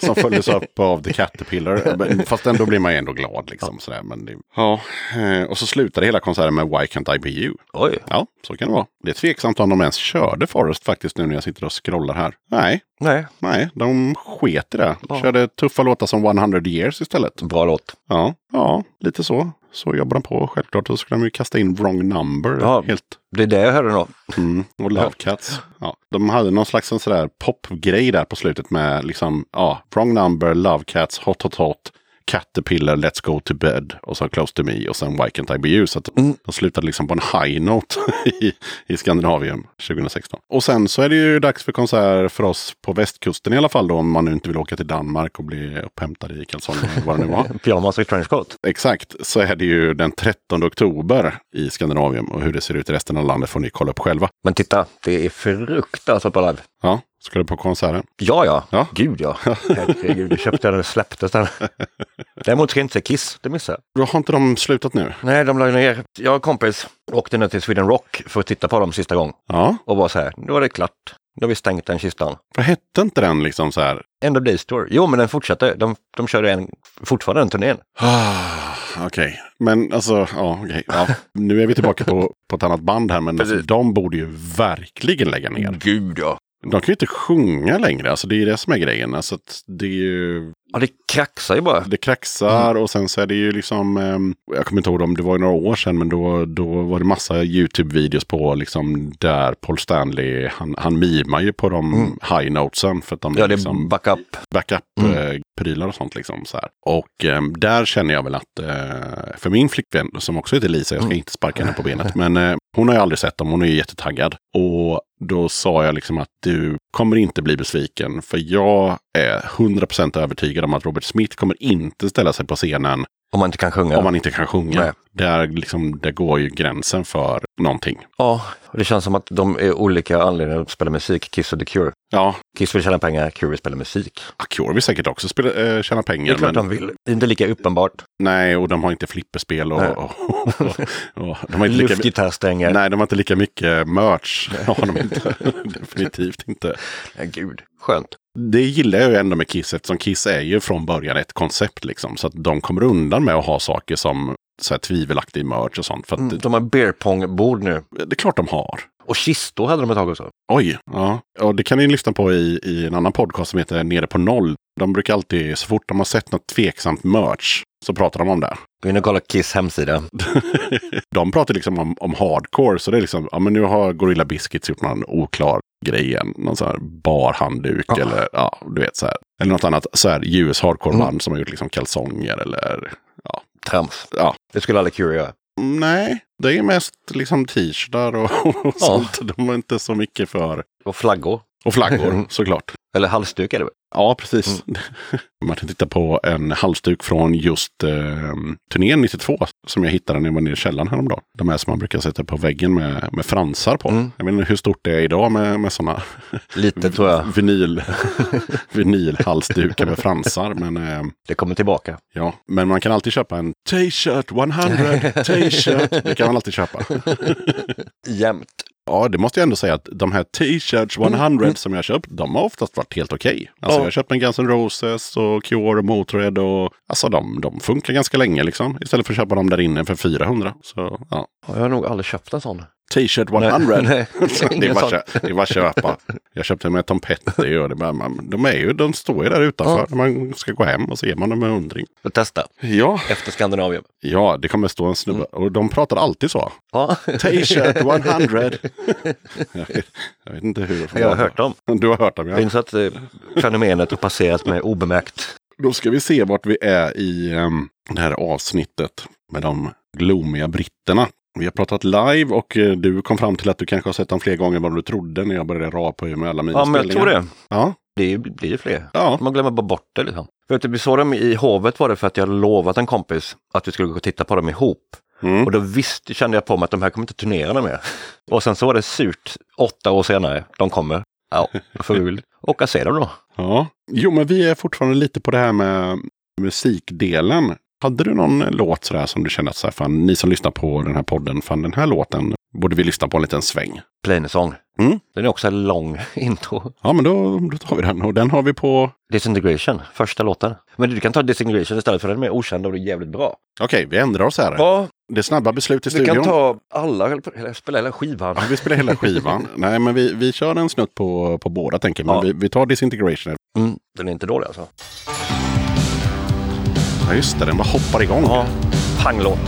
D: Som följdes upp av The Caterpillar. Men- Fast ändå blir man ju ändå glad. Liksom, sådär. Men det, ja. eh, Och så slutade hela konserten med Why Can't I Be You.
A: Oj,
D: Ja, så kan det vara. Det är tveksamt om de ens körde Forest faktiskt nu när jag sitter och scrollar här. Nej,
A: nej,
D: nej, de sket i det.
A: Ja.
D: Körde tuffa låtar som 100 years istället.
A: bra låt.
D: Ja, ja lite så. Så jobbar de på självklart. Och så skulle de ju kasta in Wrong Number.
A: Ja.
D: Helt
A: Det är det jag hörde då.
D: Mm, och Love Cats. Ja, de hade någon slags sån sådär popgrej där på slutet med liksom, ja, Wrong Number, Love Cats, Hot Hot Hot, Caterpillar, Let's Go To Bed och så Close To Me och sen Why Can't I Be You. Så att de slutade liksom på en high note i, i Skandinavium 2016. Och sen så är det ju dags för konsert för oss på västkusten i alla fall då, om man nu inte vill åka till Danmark och bli upphämtad i kalsonger eller vad det nu var.
A: Pyjamas och trenchcoat.
D: Exakt, så är det ju den 13 oktober i Skandinavium och hur det ser ut i resten av landet får ni kolla upp själva.
A: Men titta, det är fruktansvärt bra live.
D: Ja, ska du på konserten?
A: Ja, ja.
D: Ja.
A: Gud, ja. Herregud, du köpte den och släpptes den. Däremot ska jag inte säga Kiss, det missade jag.
D: Då har inte de slutat nu?
A: Nej, de la ju ner. Jag och en kompis åkte ner till Sweden Rock för att titta på dem sista gång
D: Ja,
A: och var så här, nu var det klart. Nu har vi stängt den kistan.
D: för hette inte den liksom så här?
A: End of Days Tour. Jo, men den fortsatte. De, de körde en, fortfarande den turnén.
D: Ah, okej, men alltså, ja, okej. Ja. Nu är vi tillbaka på, på ett annat band här, men alltså,
A: Precis.
D: de borde ju verkligen lägga ner.
A: Gud, ja.
D: De kan ju inte sjunga längre, alltså det är ju det som är grejen. Alltså, att det är ju,
A: Ja, det kraxar ju bara.
D: det kraxar
A: Mm.
D: och sen så är det ju liksom, ehm, jag kommer inte ihåg om det var ju några år sedan, men då, då var det massa YouTube-videos på liksom där Paul Stanley, han, han mimar ju på de
A: Mm.
D: high notesen för att de
A: Ja, det
D: liksom
A: är backup. Mm.
D: backup-prylar eh, och sånt. Liksom, så här. Och ehm, där känner jag väl att, eh, för min flickvän som också heter Lisa, jag
A: Mm.
D: ska inte sparka henne på benet, men eh, hon har ju aldrig sett dem, hon är ju jättetaggad. Och då sa jag liksom att du kommer inte bli besviken, för jag är 100% övertygad om att Robert Smith kommer inte ställa sig på scenen
A: Om man inte kan sjunga.
D: om man inte kan sjunga.
A: Nej.
D: Där, liksom, där går ju gränsen för någonting.
A: Ja, och det känns som att de är olika anledningar att spela musik, Kiss och The Cure.
D: Ja,
A: Kiss vill tjäna pengar, Cure vill spela musik.
D: Acure vill säkert också spela, eh, tjäna
A: Det är
D: pengar.
A: klart
D: men-
A: de vill. Det är inte lika uppenbart.
D: Nej, och de har inte flipperspel och,
A: Nej.
D: och, och, och de har inte lika,
A: Luftgitarrstänger.
D: Nej, de har inte lika mycket merch. Har de inte. Definitivt inte.
A: Nej, gud. Skönt.
D: Det gillar jag ju ändå med Kiss, eftersom Kiss är ju från början ett koncept liksom. Så att de kommer undan med att ha
A: Mm.
D: saker som så här, tvivelaktig merch och sånt. För att
A: De har beer pong-bord nu.
D: det, det är klart de har.
A: Och kistor hade de ett tag också.
D: Oj! Ja. Och det kan ni lyssna på i, i en annan podcast som heter Nere på noll. De brukar alltid, så fort de har sett något tveksamt merch, så pratar de om det.
A: Gå in och kolla Kiss hemsida.
D: de pratar liksom om, om hardcore, så det är liksom, ja men nu har Gorilla Biscuits gjort någon oklar grej igen. Någon sån här barhandduk
A: Ja.
D: eller ja, du vet så här. Eller något annat så här US hardcore-band som har gjort liksom kalsonger eller
A: Trams.
D: ja.
A: Det skulle alla Cure göra.
D: Mm, Nej, det är mest liksom t-shirtar och, och sånt. De är inte så mycket för...
A: Och flaggor.
D: Och flaggor såklart.
A: Eller halsduk är det väl?
D: Ja, precis. Man kan titta Mm. på en halsduk från just eh, turnén 92 som jag hittade när jag var nere i källaren häromdagen. De här som man brukar sätta på väggen med, med fransar på.
A: Mm.
D: Jag vet inte hur stort det är idag med, med sådana
A: Lite tror jag.
D: vinyl, vinylhalsdukar med fransar. Men, eh,
A: Det kommer tillbaka.
D: ja. men man kan alltid köpa en T-shirt 100, T-shirt. Det kan man alltid köpa.
A: Jämt.
D: Ja, det måste jag ändå säga att de här T-shirts 100 som jag köpt, de har oftast varit helt okej.
A: Mm,
D: Alltså
A: Ja.
D: jag har köpt en Guns N' Roses och Cure och Motörhead och alltså de, de funkar ganska länge liksom. Istället för att köpa dem där inne för 400. Så ja,
A: Jag har nog aldrig köpt en sån.
D: T-shirt
A: Nej,
D: 100.
A: nej,
D: det, är
A: ingen
D: bara,
A: sån.
D: kö- det är bara köpa. Jag köpte med Tom Petty och det bara, man, de, är ju, de står ju där utanför när man ska gå hem och så ger man dem en hundring.
A: Får testa.
D: Ja.
A: Efter Skandinavien.
D: ja, det kommer stå en snubbe
A: Mm.
D: och de pratar alltid så.
A: Ja,
D: T-shirt 100. jag, vet, jag vet inte hur.
A: jag har hört dem.
D: Du har hört dem,
A: Jag
D: ja.
A: inser att eh, fenomenet har passerat mig obemärkt.
D: Då ska vi se vart vi är i ehm, det här avsnittet med de gloomiga britterna. Vi har pratat live och eh, du kom fram till att du kanske har sett dem fler gånger än vad du trodde när jag började rapa ur med alla mina
A: Ja, men jag tror det.
D: Ja,
A: Det blir ju fler.
D: ja.
A: Man glömmer bara bort det liksom. Vet du, vi såg dem i Hovet var det för att jag lovat en kompis att vi skulle gå och titta på dem ihop.
D: Mm.
A: Och då visste, kände jag på mig att de här kommer inte turnera något mer. Och sen så var det surt åtta år senare. De kommer. Ja, då får vi väl åka och se dem då.
D: ja. Jo, men vi är fortfarande lite på det här med musikdelen. Hade du någon låt sådär som du kände att så här, fan, ni som lyssnar på den här podden, fan den här låten borde vi lyssna på en liten sväng?
A: Plainesong.
D: Mm.
A: Den är också en lång intro.
D: Ja, men då, då tar vi den. Och den har vi på...
A: Disintegration, första låten. Men du kan ta Disintegration istället för den är mer okänd och det är jävligt bra.
D: Okej, vi ändrar oss här.
A: Ja,
D: Det är snabba beslut
A: du
D: i studion.
A: kan ta alla, eller spela hela skivan.
D: Ja, vi spelar hela skivan. Nej, men vi, vi kör en snutt på, på båda tänker jag. Men
A: Ja.
D: vi, vi tar Disintegration.
A: Mm, den är inte dålig alltså.
D: Ja, just det. Den bara hoppar igång.
A: Ja, panglåt.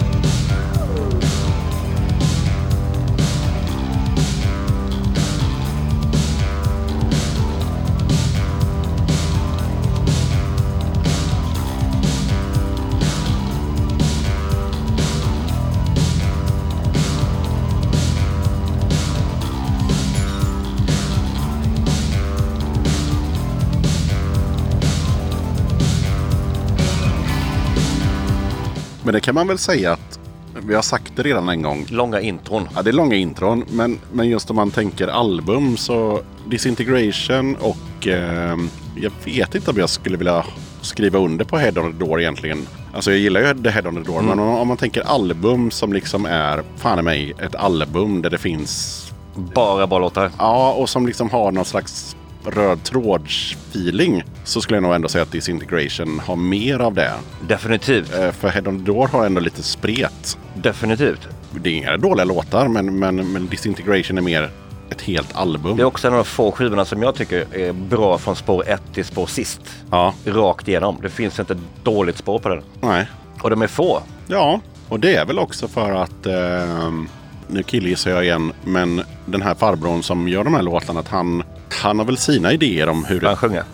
D: Men det kan man väl säga att vi har sagt det redan en gång.
A: Långa intron.
D: Ja, det är långa intron, men, men just om man tänker album så Disintegration och eh, jag vet inte om jag skulle vilja skriva under på Head on the Door egentligen. Alltså jag gillar ju The Head on the Door, men om, om man tänker album som liksom är, fan i mig, ett album där det finns
A: Bara bra låtar.
D: Ja, och som liksom har någon slags röd tråd-feeling så skulle jag nog ändå säga att Disintegration har mer av det.
A: Definitivt.
D: Eh, För Head on the Door har ändå lite spret.
A: Definitivt.
D: Det är inga dåliga låtar, men, men, men Disintegration är mer ett helt
A: Det är
D: album.
A: också en av de få skivorna som jag tycker är bra från spår 1 till spår sist.
D: Ja,
A: Rakt igenom. Det finns inte ett dåligt spår på den.
D: nej.
A: Och de är få.
D: Ja, och det är väl också för att ehm, nu killgissar jag igen, men den här farbrorn som gör de här låtarna, att han, han har väl sina idéer om hur
A: Han
D: det...
A: sjunger.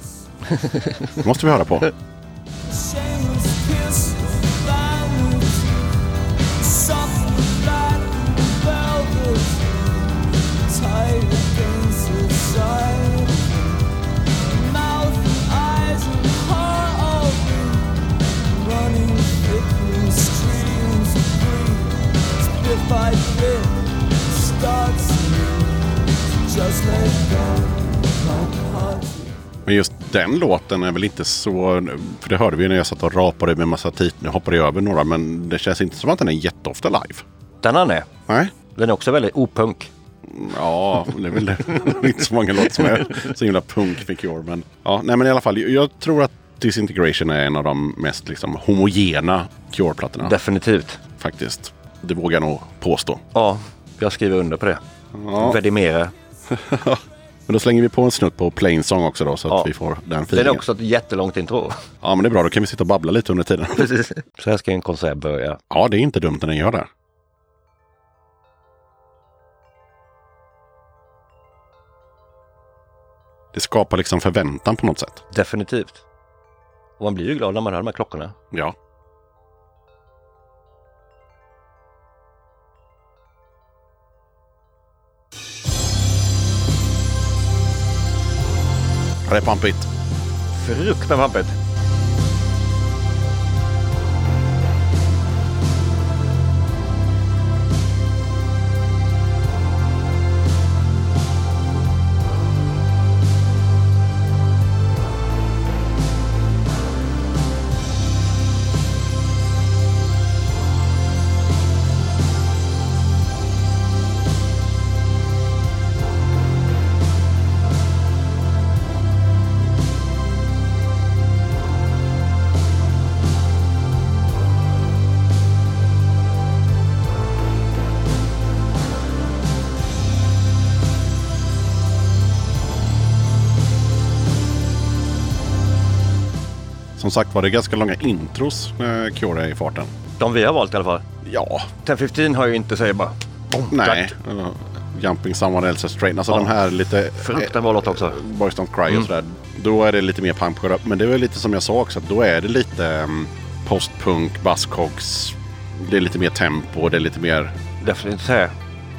D: Det måste vi höra på.
E: Shameless kiss, violence, something black and velvet, tied against his side. Mouth and eyes and heart open, running thick streams of greed. Bit by bit, starts to just let go. Don't hurt you.
D: Men just den låten är väl inte så... För det hörde vi ju när jag satt och rapade med massa titlar. Nu hoppade jag över några, men det känns inte som att den är jätteofta live.
A: Den han är.
D: Nej.
A: Den är också väldigt opunk.
D: Ja, det är väl det. Det är inte så många låtar som är så himla punk för Cure. Men, ja, nej, men i alla fall, jag tror att Disintegration är en av de mest liksom, homogena Cure-plattorna.
A: Definitivt.
D: Faktiskt. Det vågar jag nog påstå.
A: Ja, jag skriver under på det.
D: Ja.
A: Vedimera.
D: Men då slänger vi på en snutt på Plain Song också då så att
A: Ja.
D: vi får den
A: Det är
D: feelingen.
A: också ett jättelångt intro.
D: Ja men det är bra, då kan vi sitta och babbla lite under tiden.
A: Precis. Så här ska en konsert börja.
D: Ja, det är inte dumt när den gör det. Det skapar liksom förväntan på något sätt.
A: Definitivt. Och man blir ju glad när man hör de här klockorna.
D: Ja. Det är pampigt.
A: Fruktansvärt pampigt.
D: Som sagt var, det är ganska långa intros när Cure är i farten.
A: De vi har valt i alla fall.
D: Ja,
A: 1015 har ju inte så jag bara... Boom,
D: nej.
A: klart.
D: Eller Jumping someone else's train. Alltså
A: Ja.
D: de här lite...
A: Fruktansvärt bra låt också.
D: Boys Don't Cry och sådär. Då är det lite mer punk på det. Men det är väl lite som jag sa också, att då är det lite mm, postpunk, buzzcocks. Det är lite mer tempo, det är lite mer...
A: Definitivt så här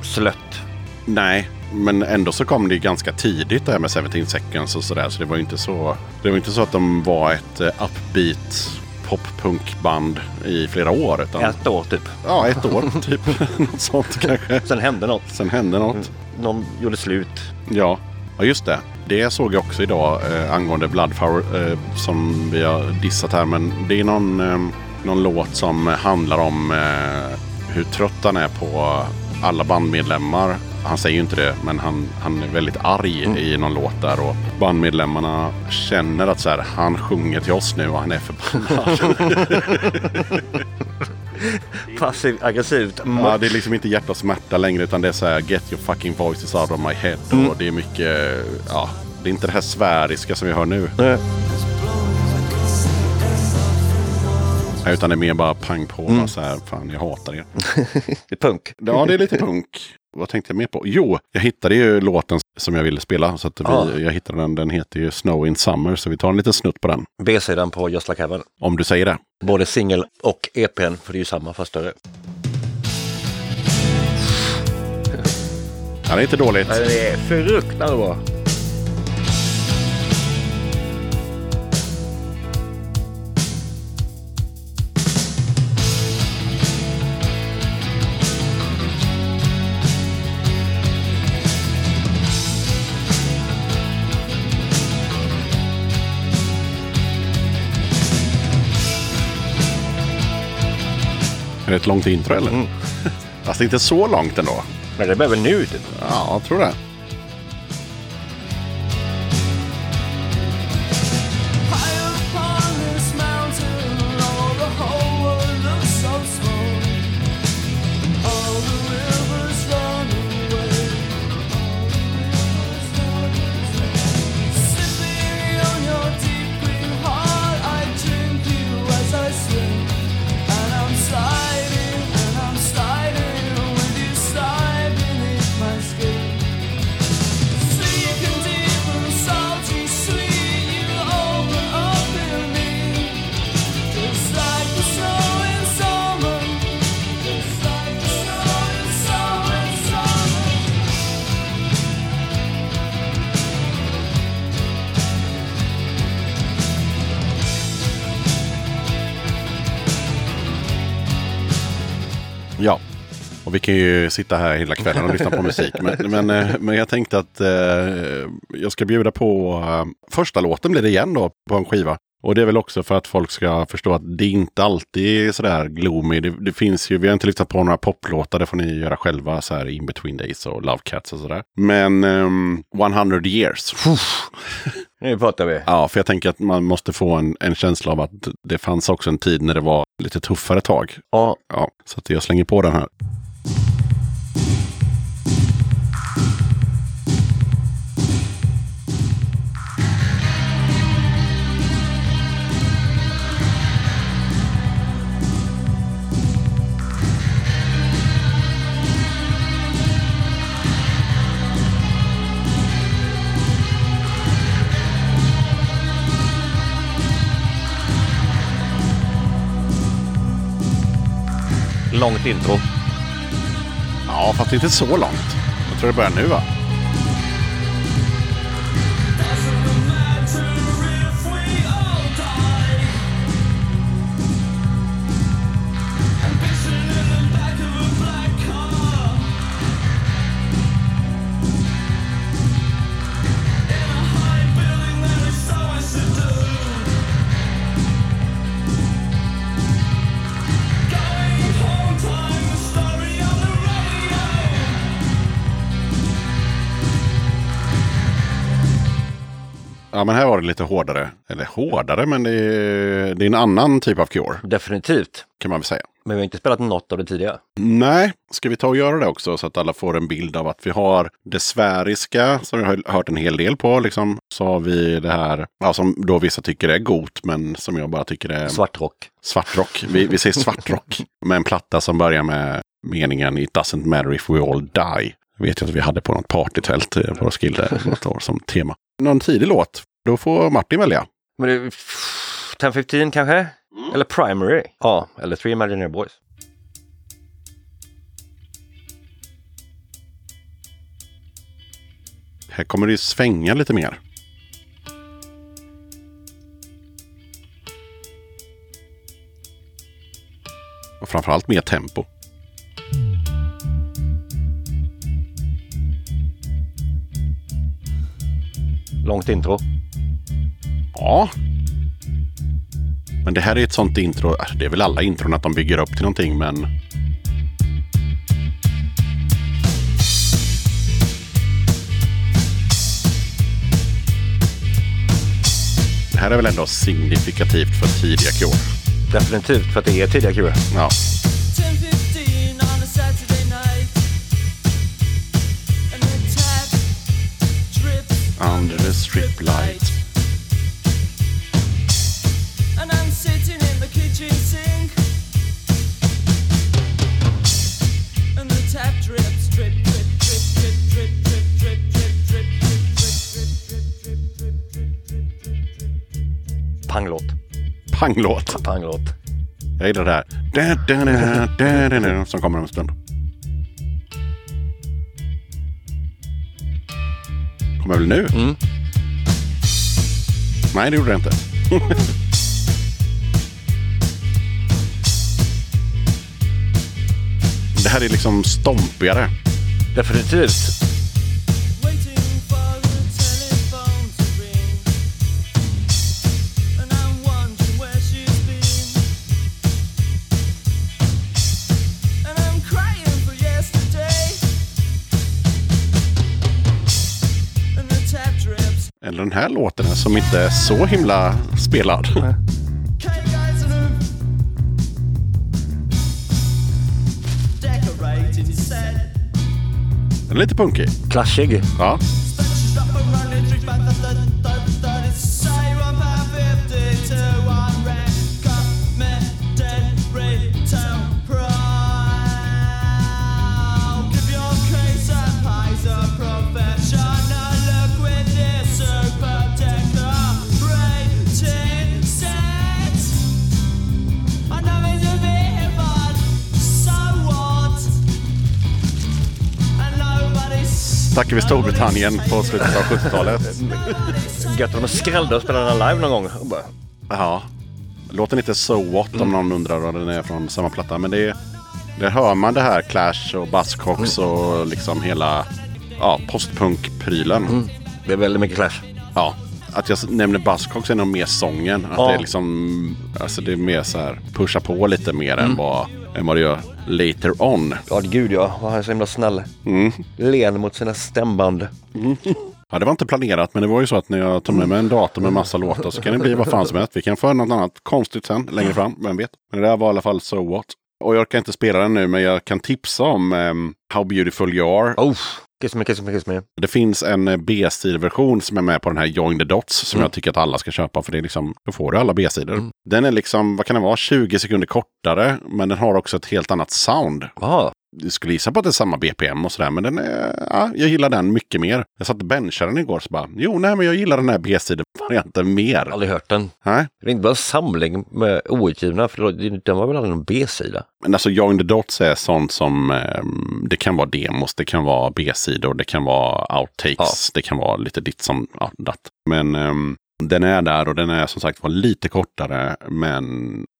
A: slött.
D: Nej, men ändå så kom det ju ganska tidigt det här med 17 seconds och sådär. Så det var ju inte så... Det var inte så att de var ett eh, upbeat poppunkband i flera år. Utan, ja.
A: Ett år typ.
D: ett år typ. något sånt kanske.
A: Sen hände något.
D: Sen hände något.
A: Någon gjorde slut.
D: Ja, ja just det. Det såg jag också idag eh, angående Bloodflower eh, som vi har dissat här. Men det är någon, eh, någon låt som handlar om eh, hur trött han är på alla bandmedlemmar. Han säger ju inte det, men han, han är väldigt arg i någon låt där. Och bandmedlemmarna känner att så här, han sjunger till oss nu och han är förbannad.
A: Passivt aggressivt.
D: ja, det är liksom inte hjärta och smärta längre utan det är så här get your fucking voices out of my head. Och det är mycket, ja, det är inte det här sväriska som vi hör nu.
A: Nej.
D: Nej, Utan det är mer bara pang på. Bara så här, fan jag hatar er.
A: Det är punk.
D: Ja, det är lite punk. Vad tänkte jag mer på? Jo, jag hittade ju låten som jag ville spela. Så att vi,
A: Ja.
D: jag hittade den. Den heter ju Snow in Summer. Så vi tar en liten snutt på den.
A: B-sidan på Just Like Heaven.
D: Om du säger det.
A: Både singel och EPn, för det är ju samma fast större.
D: Ja, det är inte dåligt.
A: Det är fruktansvärt bra.
D: Är det ett långt intro eller? Fast inte så långt ändå.
A: Men det börjar väl nu typ.
D: Ja, jag tror det.
C: High upon this mountain, all the whole world looks so small. All the rivers run away. Sipping on your deep green heart, I drink you as I swim. And I'm sliding, and I'm sliding, with you slide beneath my skin.
D: Ja. Och vi kan ju sitta här hela kvällen och lyssna på musik. Men, men, eh, men jag tänkte att eh, jag ska bjuda på eh, första låten blir det igen då på en skiva. Och det är väl också för att folk ska förstå att det inte alltid är sådär gloomy. Det, det finns ju, vi har inte lyssnat på några poplåtar, det får ni göra själva så här in between days och Love Cats och sådär. Men ehm, 100 years. Puff.
A: Nu pratar vi.
D: Ja, för jag tänker att man måste få en, en känsla av att det fanns också en tid när det var lite tuffare tag.
A: Ja,
D: Ja, så att jag slänger på den här.
A: långt intro.
D: Ja, fast inte så långt. Jag tror det börjar nu va? Ja, men här var det lite hårdare. Eller hårdare, men det är, det är en annan typ av Cure
A: Definitivt.
D: kan man väl säga.
A: Men vi har inte spelat något av det tidigare.
D: Nej, ska vi ta och göra det också så att alla får en bild av att vi har det sfäriska som jag har hört en hel del på. Liksom. Så har vi det här ja, som då vissa tycker är gott men som jag bara tycker är
A: Svartrock.
D: svartrock. Vi, vi säger svartrock med en platta som börjar med meningen It doesn't matter if we all die. Vet jag att vi hade på något partytält eh, på Roskilde något år som tema. Någon tidig låt, då får Martin välja.
A: Men det, 10-15 kanske? Eller Primary? Ja, eller Three Imaginary Boys.
D: Här kommer det ju svänga lite mer. Och framförallt mer tempo.
A: Långt intro.
D: Ja. Men det här är ett sånt intro. äh, Det är väl alla intron att de bygger upp till någonting, men... Det här är väl ändå signifikativt för tidiga Cure.
A: Definitivt, för att det är tidiga Cure.
D: Ja.
E: 10:15 on a Saturday night. An attack drips
D: Under the strip light.
E: and I'm sitting in the kitchen sink. And the tap drips, drip, drip, drip, drip, drip, drip, drip, drip, drip, drip, drip, drip, drip, drip, drip, drip, drip, drip, drip.
A: Panglåt.
D: Panglåt.
A: Panglåt.
D: Jag gillar det här. Da, da, da, da, da, da, som kommer om en stund. Kommer väl nu?
A: Mm.
D: Nej, det gjorde det inte. det här är liksom stompigare.
A: Definitivt.
E: Waiting for the telephone to ring. And I'm wondering where she's been. And I'm crying for yesterday. And the tap drips.
D: Eller den här låten här som inte är så himla spelad.
E: Can you guys Decorated set.
D: Den är lite punkig.
A: Clashig.
D: Ja.
E: Stretches up around it, reach back the third, third, third. It's say one pound fifty to one red. Committed retail prowl. Give your case a Kaiser professional look with this super decorated set. I know it's a bit, but so what? And nobody's
D: Tackar vi Storbritannien på slutet av 70-talet.
A: Gött om de skrällde och spelade den live någon gång. Och bara,
D: Ja. Låten heter So What om någon undrar vad den är från samma platta. Men det är, där hör man det här Clash och Buzzcocks och liksom hela ja, postpunk-prylen.
A: Det är väldigt mycket Clash.
D: Ja. Att jag s- nämner Buzzcocks är nog mer sången. Att
A: Ja.
D: det är liksom, alltså det är mer så här, pusha på lite mer än, vad, än vad det gör later on.
A: Ja, gud ja. Vad Han är så himla snäll. Len mot sina stämband.
D: Ja, det var inte planerat, men det var ju så att när jag tog med mig en dator med massa låtar så kan det bli vad fan som helst. Vi kan få något annat konstigt sen, längre fram, vem vet. Men det där var i alla fall So What. Och jag orkar inte spela den nu, men jag kan tipsa om ehm, How Beautiful You Are.
A: Oh, kiss me, kiss me, kiss me.
D: Det finns en eh, B-sidversion som är med på den här Join the Dots som jag tycker att alla ska köpa för det är liksom, då får du alla B-sidor. Den är liksom, vad kan det vara, 20 sekunder kortare, men den har också ett helt annat sound.
A: Jaha,
D: jag skulle gissa på att det är samma BPM och sådär. Men den är, ja, jag gillar den mycket mer. Jag satt och benchade den igår så bara, jo nej men jag gillar den här B-sidevarianten mer.
A: Aldrig hört den.
D: Nej.
A: Det är inte bara en samling med outgivna, för då- den var väl aldrig någon B-sida?
D: Men alltså Join the Dots är sånt som eh, det kan vara demos, det kan vara B-sidor, det kan vara outtakes,
A: Ja.
D: det kan vara lite ditt som ja, datt. Men ehm, den är där och den är som sagt var lite kortare. Men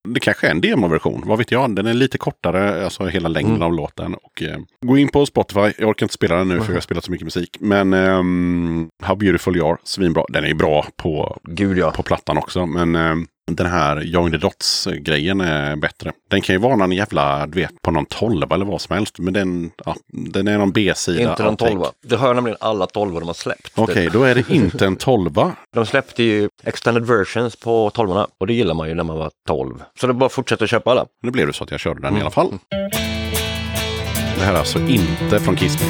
D: det kanske är en demoversion, vad vet jag. Den är lite kortare, alltså hela längden
A: Mm.
D: av låten. Och, eh, gå in på Spotify, jag orkar inte spela den nu för jag har spelat så mycket musik. Men ehm, How Beautiful You Are, svinbra. Den är ju bra på
A: Gud ja.
D: på plattan också. Men eh, den här Young the Dots-grejen är bättre. Den kan ju vara någon jävla, du vet, på någon tolva eller vad som helst. Men den, ja, den är någon B-sida.
A: Inte den
D: outtake.
A: tolva. Det har jag nämligen alla tolvor de har släppt.
D: Okej, då är det inte en tolva.
A: De släppte ju extended versions på tolvorna och det gillar man ju när man var 12. Så det är bara att fortsätta köpa alla.
D: Nu blev det så att jag körde den i alla fall.
A: Mm.
D: Det här är alltså inte från Kiss Me.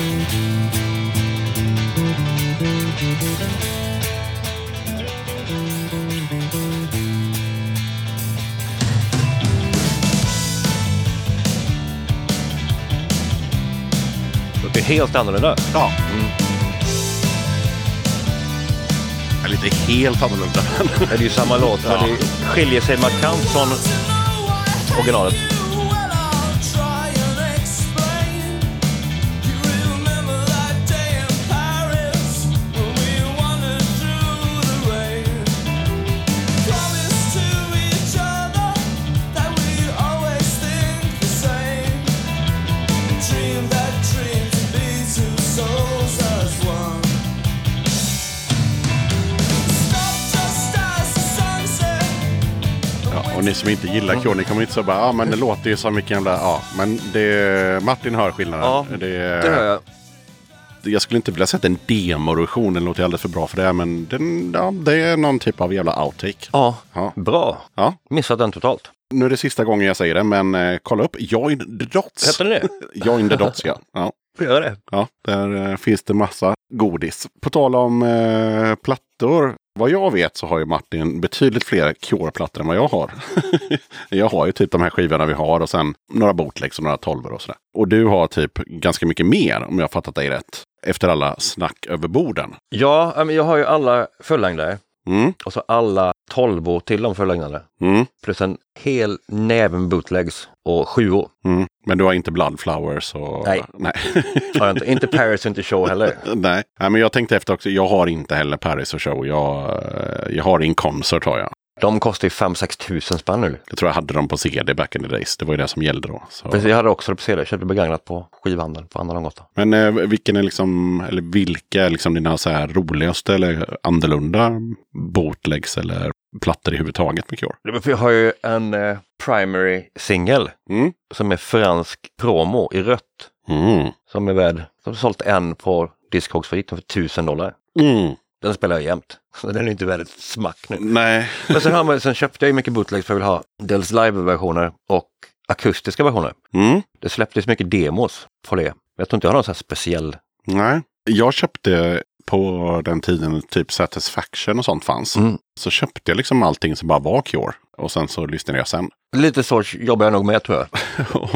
A: Det är helt annorlunda.
D: Ja. Det är lite helt annorlunda.
A: Det är ju samma låt, men
D: Ja.
A: det skiljer sig markant från... originalet.
C: Dream that dream to be two souls as one. Stop just as the sunset
D: Ja, och ni som inte gillar Cure, ni kommer inte så bara, ja ah, men det låter ju som vilken jävla, ja. Men det, Martin hör skillnaden.
A: Ja, Det hör jag.
D: jag skulle inte vilja säga att det är en demoversion, den låter ju alldeles för bra för det. Men den, ja, det är någon typ av jävla outtake.
A: Ja,
D: Ja.
A: bra.
D: Ja,
A: Missat den totalt.
D: nu är det sista gången jag säger det, men eh, kolla upp Join the Dots.
A: Hette den det?
D: Join the Dots, ja. ja.
A: Får jag göra det?
D: Ja, där eh, finns det massa godis. På tal om eh, plattor. Vad jag vet så har ju Martin betydligt fler Cure-plattor än vad jag har. jag har ju typ de här skivorna vi har och sen några bootlegs och några tolvor och sådär. Och du har typ ganska mycket mer om jag har fattat dig rätt. Efter alla snack över borden.
A: Ja, ja, men jag har ju alla fullängdare
D: Mm,
A: och så alla tolvor till de fullängdare.
D: mm,
A: Plus en hel näven bootlegs och sjuor.
D: mm. Men du har inte Bloodflowers och...
A: Nej.
D: Nej.
A: Har jag inte. inte Paris, inte Show heller.
D: Nej. Nej, men jag tänkte efter också. Jag har inte heller Paris och Show. Jag, eh, jag har In Concert har jag.
A: De kostar ju 5-6 tusen spänn nu.
D: Jag tror jag hade dem på CD back in the days. Det var ju det som gällde då. Så.
A: Precis, jag hade också det på CD. Jag köpte begagnat på skivhandeln på Andra Långgatan.
D: Men eh, vilken är liksom, eller vilka är liksom dina så här roligaste eller annorlunda bootlegs eller plattor i huvud taget med Cure?
A: Jag har ju en eh, primary singel
D: Mm.
A: som är fransk promo i rött.
D: Mm.
A: Som är värd, som har sålt en på Discogs för 19 för 1000 dollar.
D: Mm.
A: Den spelar jag jämt. Så den är inte värd ett smack nu.
D: Nej.
A: Men sen, har man, sen köpte jag ju mycket bootlegs för jag vill ha dels live-versioner och akustiska versioner.
D: Mm.
A: Det släpptes mycket demos på det. Jag tror inte jag har någon sån här speciell.
D: Nej. Jag köpte på den tiden typ Satisfaction och sånt fanns.
A: Mm.
D: Så köpte jag liksom allting som bara var Cure. Och sen så lyssnade jag sen.
A: Lite så jobbar jag nog med tror jag.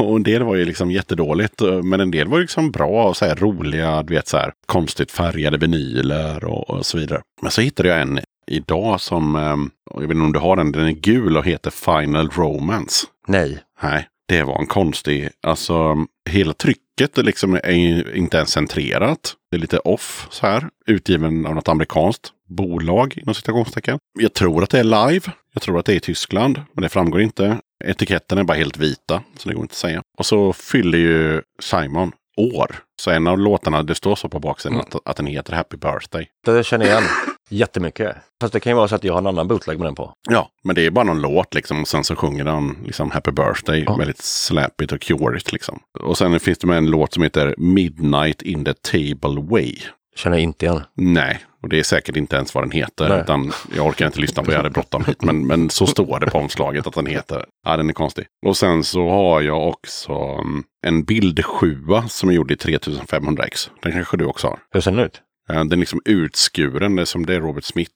D: Och en del var ju liksom jättedåligt. Men en del var ju liksom bra och så här roliga, du vet så här konstigt färgade vinyler och, och så vidare. Men så hittade jag en idag som, ehm, och jag vet inte om du har den, den är gul och heter Final Romance.
A: Nej.
D: Nej, det var en konstig, alltså hela trycket är liksom är ju inte ens centrerat. Det är lite off så här, utgiven av något amerikanskt bolag inom citationstecken. Jag tror att det är live, jag tror att det är i Tyskland, men det framgår inte. Etiketten är bara helt vita, så det går inte att säga. Och så fyller ju Simon år. Så en av låtarna, det står så på baksidan
A: Mm.
D: att, att den heter Happy Birthday.
A: Det känner jag igen jättemycket. Fast det kan ju vara så att jag har en annan bootleg med den på.
D: Ja, men det är bara någon låt liksom. Och sen så sjunger han liksom Happy Birthday.
A: Ja.
D: Väldigt släpigt och curigt liksom. Och sen finns det med en låt som heter Midnight in the Table Way.
A: Känner jag inte igen.
D: Nej, och det är säkert inte ens vad den heter.
A: Nej.
D: Utan jag orkar inte lyssna på, jag hade bråttom hit. Men, men så står det på omslaget att den heter. Ja, den är konstig. Och sen så har jag också mm, en bild sjua som är gjord i 3500x. Den kanske du också har.
A: Hur ser den ut?
D: Eh, Den är liksom utskuren, det är som det är Robert Smith.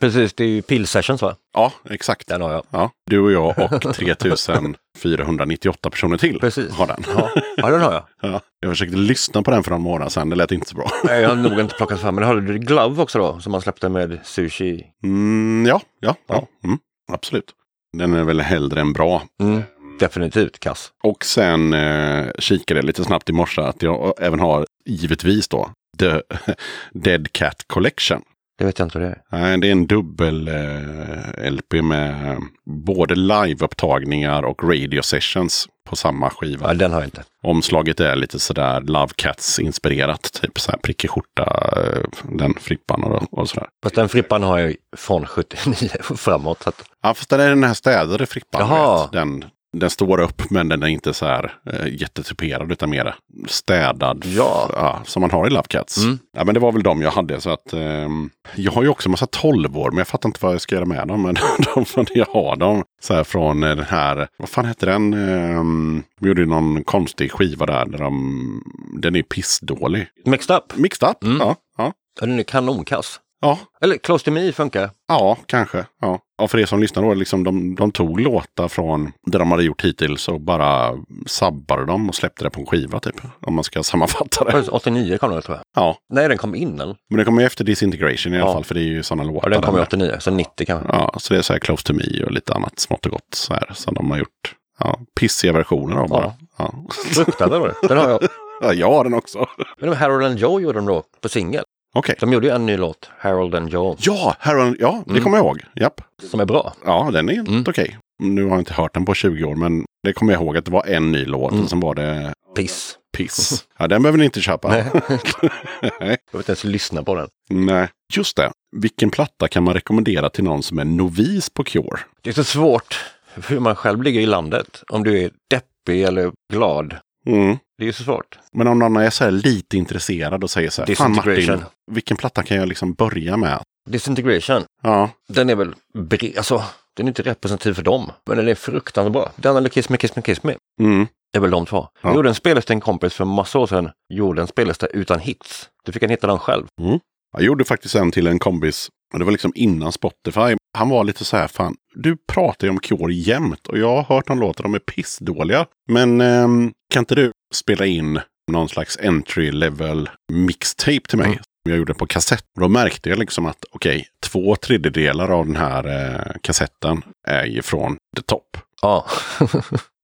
A: Precis, det är ju pillsessions va?
D: Ja, exakt.
A: Den har jag.
D: Ja, du och jag och 3498 personer till
A: Precis.
D: har den.
A: Ja, ja den har jag.
D: Ja. Jag försökte lyssna på den för någon månad sedan, det lät inte så bra.
A: Nej, Jag har nog inte plockat fram, men har du Glove också då? Som man släppte med sushi.
D: Mm, ja, ja, ja.
A: Ja.
D: Mm, absolut. Den är väl hellre än bra.
A: Mm. Definitivt kass.
D: Och sen eh, kikade jag lite snabbt i morse att jag även har, givetvis då, The Dead Cat Collection.
A: Det vet jag inte vad det är.
D: Nej, Det är en dubbel eh, LP med eh, både liveupptagningar och radio sessions på samma skiva.
A: Ja, den har jag inte.
D: Omslaget är lite sådär Love Cats-inspirerat. Typ så här prickig skjorta, eh, den frippan och, och sådär.
A: Fast den frippan har jag ju från 79 och framåt. Så att,
D: Ja, fast den är den här städade frippan.
A: Jaha.
D: vet. Den, den står upp, men den är inte så här eh, jättetuperad, utan mer städad.
A: Ja.
D: som man har i Love Cats.
A: Mm.
D: Ja, men det var väl de jag hade. Så att, ehm, jag har ju också en massa 12 år, men jag fattar inte vad jag ska göra med dem. Men de, de, jag har dem så här från eh, den här, vad fan heter den? Ehm, de gjorde ju någon konstig skiva där. där de, den är pissdålig.
A: mixed up.
D: Mixed up?
A: Mm.
D: Ja, ja,
A: Ja, Den är kanonkass.
D: ja,
A: Eller Close to me funkar.
D: Ja, kanske. Ja. Ja, för er som lyssnar då, liksom de, de tog låtar från det de hade gjort hittills och bara sabbade dem och släppte det på en skiva typ. Om man ska sammanfatta det.
A: 89 kom den tror jag.
D: Ja,
A: Nej, den kom innan.
D: men det kommer ju efter Disintegration i alla
A: Ja.
D: fall, för det är ju sådana låtar.
A: Ja, den
D: där
A: kom ju
D: med.
A: 89, så 90 kanske.
D: Ja, så det är så här Close to Me och lite annat smått och gott så här som de har gjort. Ja, pissiga versioner av bara. Ja,
A: Fruktade var det. Den har jag.
D: ja. jag har den också.
A: Men de Harold and Joe gjorde de då på singel.
D: Okej.
A: De gjorde ju en ny låt, Harold and Joe,
D: Ja, Heron, ja, det kommer jag ihåg. Japp.
A: som är bra.
D: Ja, den är helt
A: Mm.
D: okej. Nu har jag inte hört den på 20 år, men det kommer jag ihåg att det var en ny låt
A: Mm.
D: och sen var det
A: Piss.
D: Piss. Ja, den behöver ni inte köpa.
A: Nej.
D: Nej.
A: Jag vet inte ens lyssna på den.
D: Nej. Just det. Vilken platta kan man rekommendera till någon som är novis på Cure?
A: Det är så svårt hur man själv ligger i landet. Om du är deppig eller glad.
D: Mm.
A: Det är ju så svårt.
D: Men om någon är så här lite intresserad och säger så här, fan Martin,
A: Disintegration.
D: vilken platta kan jag liksom börja med?
A: Disintegration,
D: Ja,
A: den är väl bred, alltså den är inte representativ för dem. Men den är fruktansvärt bra. Den eller Kiss Me Kiss Me Kiss Me.
D: mm.
A: Det är väl de två.
D: Ja.
A: Jag gjorde en spellista en kompis för massa år sedan. Gjorde en spellista utan hits. Du fick han hitta den själv.
D: Jag gjorde faktiskt en till en kompis, och det var liksom innan Spotify. Han var lite så här, fan, du pratar ju om Cure jämt och jag har hört de låtar, de är pissdåliga. Men ehm, kan inte du spela in någon slags entry level mixtape till mig?
A: Mm.
D: Jag gjorde på kassett. Och då märkte jag liksom att okej, två tredjedelar av den här eh, kassetten är ju från The Top.
A: Ja,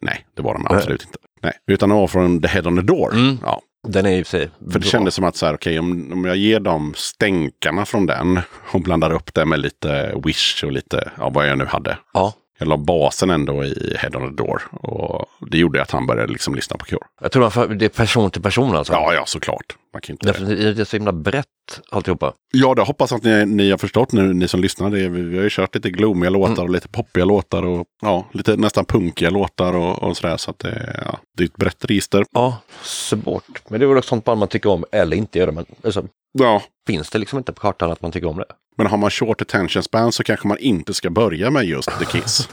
D: Nej, det var de absolut inte. Nej, utan de var från The Head on the Door.
A: Mm.
D: Ja,
A: den är i och för sig
D: för det kändes som att så här, okej, om, om jag ger dem stänkarna från den och blandar upp det med lite Wish och lite, ja vad jag nu hade.
A: Ja,
D: Jag la basen ändå i Head on the Door och det gjorde att han började liksom lyssna på Cure.
A: jag tror man får- det är person till person alltså.
D: Ja, ja, såklart. Man kan inte...
A: Därför att det är så himla brett alltihopa.
D: Ja, det hoppas att ni, ni har förstått nu, ni som lyssnar. Det, är- vi, vi har ju kört lite gloomiga låtar och lite poppiga låtar och ja, lite nästan punkiga låtar och, och sådär. Så att det, ja, det är ett brett register.
A: Ja, svårt. Men det är väl också sånt band man tycker om eller inte gör det. Men alltså,
D: Ja,
A: finns det liksom inte på kartan att man tycker om det?
D: men har man short attention span så kanske man inte ska börja med just The Kiss.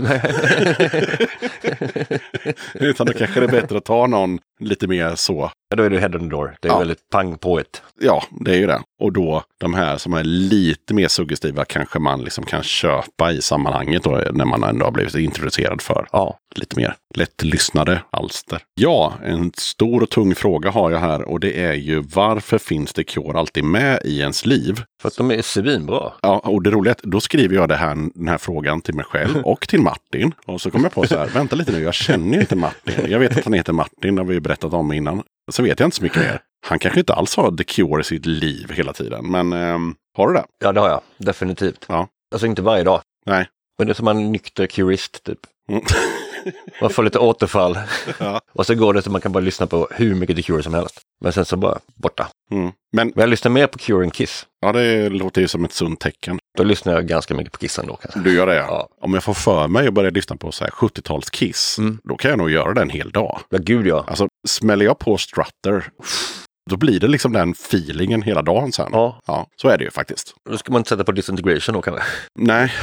D: Utan då kanske det är bättre att ta någon lite mer så.
A: ja, då är det Head on the Door. Det är
D: Ja.
A: väldigt pang på ett.
D: Ja, det är ju det. Och då de här som är lite mer suggestiva kanske man liksom kan köpa i sammanhanget då när man ändå har blivit introducerad för
A: Ja,
D: lite mer lättlyssnade alster. Ja, en stor och tung fråga har jag här och det är ju varför finns det Cure alltid med i ens liv?
A: för att de är svinbra.
D: Ja, och det roliga är att då skriver jag det här, den här frågan till mig själv och till Martin. Och så kommer jag på så här, vänta lite nu, jag känner ju inte Martin. Jag vet att han heter Martin, det har vi ju berättat om innan. Så vet jag inte så mycket mer. Han kanske inte alls har The Cure i sitt liv hela tiden, men ehm, har du det?
A: Ja, det har jag. Definitivt.
D: Ja.
A: Alltså inte varje dag.
D: Nej.
A: Men det är som en nykter curist typ.
D: Mm.
A: Man får lite återfall.
D: Ja.
A: Och så går det så man kan bara lyssna på hur mycket The Cure som helst. Men sen så bara borta.
D: Mm. Men
A: Men jag lyssnar mer på Cure än Kiss.
D: ja, det låter ju som ett sunt tecken.
A: Då lyssnar jag ganska mycket på Kiss ändå kanske.
D: Du gör det, ja.
A: Ja.
D: Om jag får för mig att börja lyssna på så här 70-tals Kiss,
A: Mm.
D: då kan jag nog göra det en hel dag.
A: Ja, gud ja.
D: Alltså, smäller jag på Strutter, då blir det liksom den feelingen hela dagen sen.
A: Ja,
D: ja så är det ju faktiskt.
A: då ska man inte sätta på Disintegration då kanske.
D: Nej.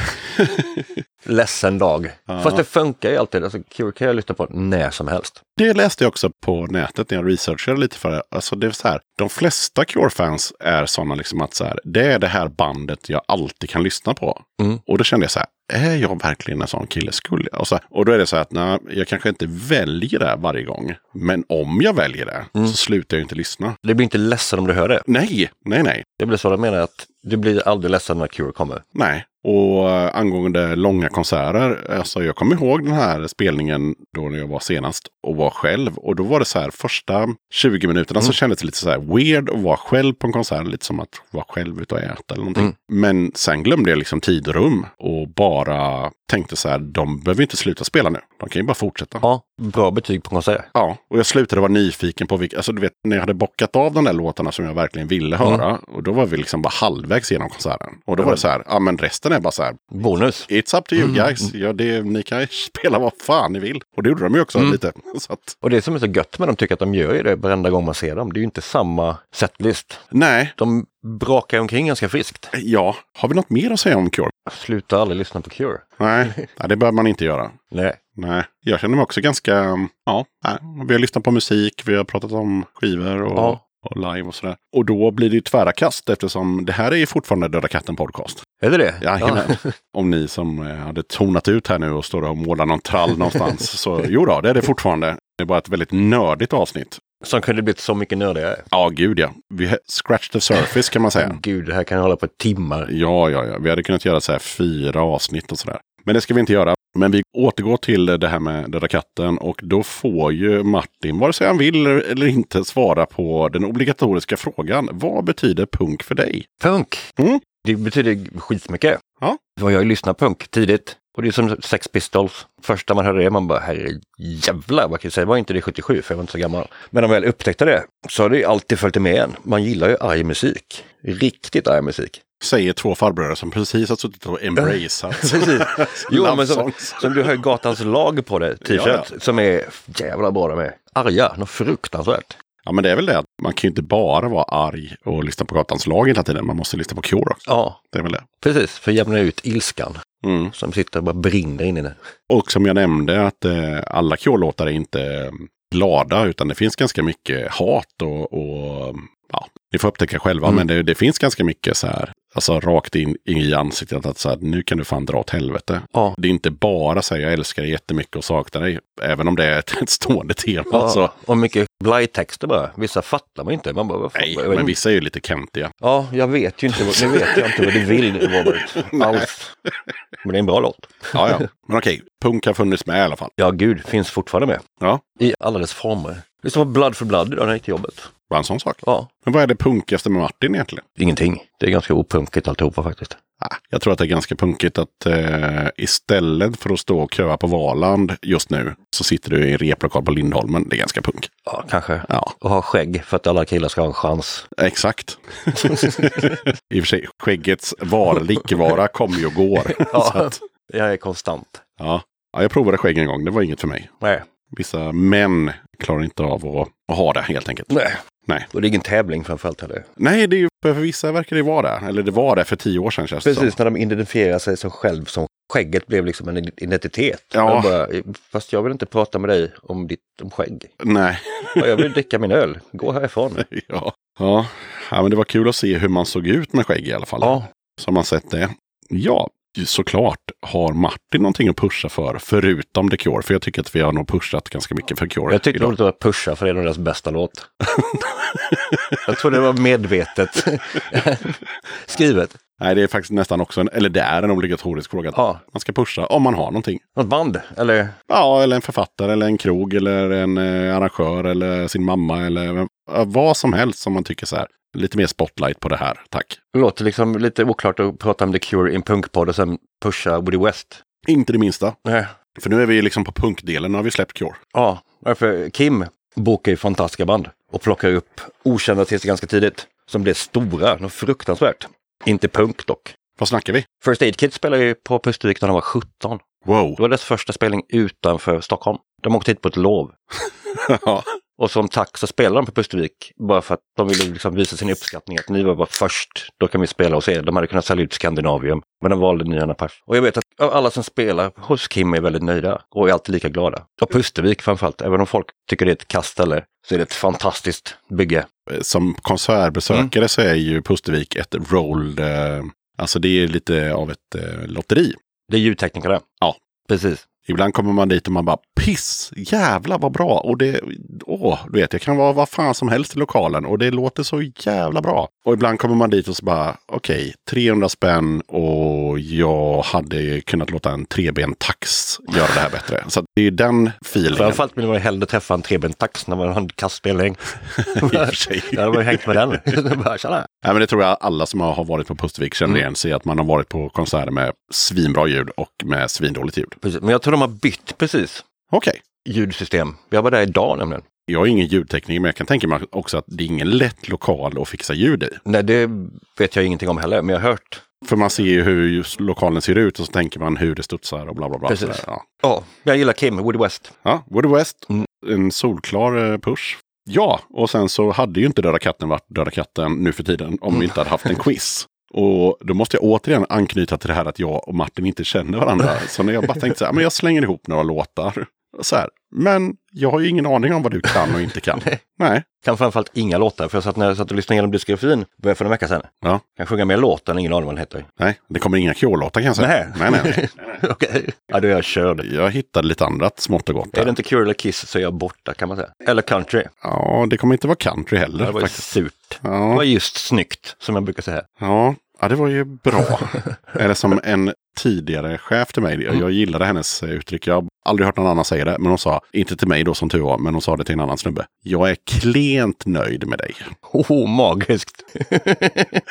A: ledsen dag.
D: Ja.
A: Fast det funkar ju alltid. Alltså, Cure kan jag lyssna på när som helst.
D: Det läste jag också på nätet när jag researchade lite för det. Alltså det är så här, de flesta Cure-fans är sådana liksom att så här, det är det här bandet jag alltid kan lyssna på.
A: Mm.
D: Och då kände jag så här, är jag verkligen en sån kille? Skulle jag? Och, så här, och då är det så här att nej, jag kanske inte väljer det varje gång. Men om jag väljer det så slutar jag inte lyssna.
A: Du blir inte ledsen om du hör det.
D: Nej, nej, nej.
A: Det blir så jag menar att du blir aldrig ledsen när Cure kommer.
D: Nej, och eh, angående långa konserter. Alltså jag kommer ihåg den här spelningen då när jag var senast och var själv. Och då var det så här första 20 minuterna så kändes det lite så här weird att vara själv på en konsert. Lite som att vara själv ute och äta eller någonting. Men sen glömde jag liksom tid och rum och bara tänkte så här, de behöver inte sluta spela nu. De kan ju bara fortsätta.
A: Ja, bra betyg på konsert.
D: Ja, och jag slutade vara nyfiken på vilka, alltså du vet, när jag hade bockat av de där låtarna som jag verkligen ville höra, och då var vi liksom bara halvvägs genom konserten. Och då var det så här, ja men resten är bara så här,
A: Bonus.
D: it's up to you guys, ja, det, ni kan spela vad fan ni vill. Och det gjorde de ju också lite. Så att,
A: Och det som är så gött med dem tycker jag att de gör ju det varenda gång man ser dem. Det är ju inte samma setlist.
D: nej,
A: De brakar omkring ganska friskt.
D: ja, har vi något mer att säga om Cure?
A: Sluta aldrig lyssna på Cure.
D: Nej, nej det behöver man inte göra.
A: Nej.
D: Nej, jag känner mig också ganska, ja, nej, vi har lyssnat på musik, vi har pratat om skivor och,
A: Ja.
D: och live och sådär. Och då blir det ju tvära kast eftersom det här är ju fortfarande Döda katten podcast.
A: Är det det?
D: Jajamän. Om ni som eh, hade tonat ut här nu och står och målar någon trall någonstans. Så jo då, det är det fortfarande. Det är bara ett väldigt nördigt avsnitt.
A: Som kunde blivit så mycket nördigare.
D: Ja, gud ja. Vi he- scratched the surface kan man säga.
A: Gud, det här kan jag hålla på i timmar.
D: Ja, ja, ja. Vi hade kunnat göra så här fyra avsnitt och sådär. Men det ska vi inte göra. Men vi återgår till det här med Döda katten och då får ju Martin, vare sig han vill eller inte, svara på den obligatoriska frågan. Vad betyder punk för dig?
A: Punk!
D: Mm.
A: Det betyder skitmycket.
D: Ja.
A: För jag har ju lyssnat på punk tidigt. Och det är som Sex Pistols. Första man hörde det, man bara herrejävlar, vad kan jag säga? Det var inte det 77, för jag var inte så gammal. Men när man väl upptäckte det så har det ju alltid följt med en. Man gillar ju arg musik. Riktigt arg musik.
D: Säger två farbröder som precis har suttit och embraceat.
A: Precis. Jo,
D: Love
A: men som,
D: songs.
A: som du har ju Gatans lag på dig, t-shirt,
D: Ja,
A: som är jävla bra de är. Arga, något fruktansvärt.
D: Ja, men det är väl det att man kan ju inte bara vara arg och lyssna på Gatans lag hela tiden. Man måste lyssna på Cure också.
A: Ja,
D: Det är väl det.
A: precis, för att jämna ut ilskan
D: Mm.
A: som sitter och bara brinner in i den.
D: Och som jag nämnde att eh, alla Cure-låtar är inte eh, glada utan det finns ganska mycket hat och, och ja, ni får upptäcka själva.
A: Mm.
D: Men det, det finns ganska mycket så här, alltså rakt in i ansiktet att så här, nu kan du fan dra åt helvete.
A: Ja.
D: Det är inte bara så här, jag älskar dig jättemycket och saknar dig. Även om det är ett, ett stående tema.
A: Ja,
D: Så,
A: Alltså, Och mycket blajtexter bara. Vissa fattar man inte. Man bara, vad fan,
D: nej,
A: vad-
D: men vissa är ju lite kantiga.
A: Ja, jag vet ju inte. Vad, nu vet jag inte vad du vill, Robert. Alls. Men det är en bra låt.
D: Ja, ja. Men okej, punk har funnits med i alla fall.
A: Ja, gud, finns fortfarande med.
D: Ja,
A: I alla dess former. Lyssna på Blood for Blood idag när jag gick till jobbet.
D: bara en sån sak.
A: Ja,
D: Men vad är det punkigaste med Martin egentligen?
A: ingenting. Det är ganska opunkigt alltihopa faktiskt.
D: Ah, Jag tror att det är ganska punkigt att eh, istället för att stå och köa på Valand just nu så sitter du i en replokal på Lindholmen. Det är ganska punk.
A: Ja, kanske.
D: Ja,
A: Och ha skägg för att alla killar ska ha en chans.
D: exakt. I och för sig, skäggets vara eller icke-vara kommer ju och går.
A: Ja.
D: Så att,
A: Jag är konstant.
D: ja. ja, jag provade skägg en gång. Det var inget för mig.
A: Nej.
D: Vissa män klarar inte av att, att ha det helt enkelt.
A: Nej.
D: Nej.
A: Och det är ingen tävling framförallt heller.
D: Nej, det är ju, för vissa verkar det vara det. Eller det var det för tio år sedan känns det som.
A: Precis när de identifierar sig som själv som skägget blev liksom en identitet.
D: Ja.
A: De Bara, Fast jag vill inte prata med dig om ditt om skägg.
D: Nej.
A: Ja, Jag vill dricka min öl. Gå härifrån.
D: Ja. Ja. ja, men det var kul att se hur man såg ut med skägg i alla fall.
A: Ja,
D: Så har man sett det. Ja, såklart har Martin någonting att pusha för, förutom The Cure. För jag tycker att vi har nog pushat ganska mycket för Cure
A: jag tyckte det var
D: idag.
A: roligt att pusha för det är nog deras bästa låt. jag tror det var medvetet skrivet.
D: Nej, det är faktiskt nästan också en, eller det är en obligatorisk fråga. att
A: Ja,
D: Man ska pusha om man har någonting.
A: något band eller?
D: Ja, eller en författare, eller en krog, eller en eh, arrangör, eller sin mamma, eller vem- ja, vad som helst som man tycker så här. Lite mer spotlight på det här, tack.
A: Det låter liksom lite oklart att prata om The Cure i en punkpodd och sen pusha Woody West.
D: Inte det minsta.
A: Nej.
D: För nu är vi liksom på punkdelen, nu har vi släppt Cure.
A: Ja, för Kim bokar ju fantastiska band och plockar upp okända artister ganska tidigt. Som blev stora, något fruktansvärt. Inte punk dock.
D: Vad snackar vi?
A: First Aid Kid spelade ju på Pustervik när de var 17.
D: Wow!
A: Det var dess första spelning utanför Stockholm. De åkte hit på ett lov.
D: Ja.
A: Och som tack så spelade de på Pustervik. Bara för att de ville liksom visa sin uppskattning. Att ni var bara först. Då kan vi spela hos er. De hade kunnat sälja ut Skandinavium. Men de valde Nya Anna Pers. Och jag vet att av alla som spelar hos Kim är väldigt nöjda och är alltid lika glada. Och Pustervik framförallt, även om folk tycker det är ett kast eller så är det ett fantastiskt bygge.
D: eh, Som konsertbesökare så är ju Pustervik ett roll... Eh, alltså det är lite av ett eh, lotteri.
A: Det är ljudteknikerna.
D: Ja.
A: Precis.
D: Ibland kommer man dit och man bara piss, jävla vad bra. Och det, åh, du vet, jag kan vara vad fan som helst i lokalen och det låter så jävla bra. Och ibland kommer man dit och så bara, okej, 300 spänn och jag hade kunnat låta en trebent tax göra det här bättre. Så att det är den feelingen.
A: Framförallt vill man ju hellre träffa en trebent tax när man har en kastspelning.
D: I och för sig.
A: Jag hade bara hängt med den. Bara, tjena.
D: Nej, men det tror jag alla som har varit på Pustervik känner igen sig i, att man har varit på konserter med svinbra ljud och med svindåligt ljud.
A: Precis. Men jag tror de har bytt precis
D: Okej.
A: ljudsystem. Jag var där idag nämligen.
D: Jag är ingen ljudtekniker, men jag kan tänka mig också att det är ingen lätt lokal att fixa ljud i.
A: Nej, det vet jag ingenting om heller, men jag har hört.
D: För man ser ju hur just lokalen ser ut och så tänker man hur det studsar och bla bla bla.
A: Precis.
D: Sådär, Ja.
A: Ja, jag gillar Kim, Woody West.
D: ja, Woody West,
A: Mm.
D: en solklar eh, push. Ja, och sen så hade ju inte Döda katten varit Döda katten nu för tiden om vi inte hade haft en quiz. Och då måste jag återigen anknyta till det här att jag och Martin inte känner varandra. Så när jag bara tänkte så här, men jag slänger ihop några låtar. Så här, men jag har ju ingen aning om vad du kan och inte kan.
A: Nej.
D: Nej.
A: Kan framförallt inga låtar, för jag satt, när jag satt och lyssnade igenom diskografin bara för en vecka sedan.
D: Ja.
A: Kan sjunga med låten, ingen aning vad den heter.
D: Nej, det kommer inga Cure-låtar kan jag säga.
A: Nej.
D: Nej, nej, nej.
A: Okej. Ja, då är jag körd.
D: Jag hittade lite annat smått och gott.
A: Är det
D: Där.
A: inte Cure eller Kiss så är jag borta kan man säga. Eller country.
D: Ja, det kommer inte vara country
A: Det
D: heller.
A: var ju
D: Faktiskt.
A: surt. Det
D: Ja,
A: var just snyggt, som jag brukar säga.
D: ja. ja, det var ju bra. Eller som en tidigare chef till mig, jag jag gillade hennes eh, uttryck. Jag har aldrig hört någon annan säga det, men hon sa, inte till mig då som tur var, men hon sa det till en annan snubbe. Jag är klent nöjd med dig.
A: Hoho, magiskt!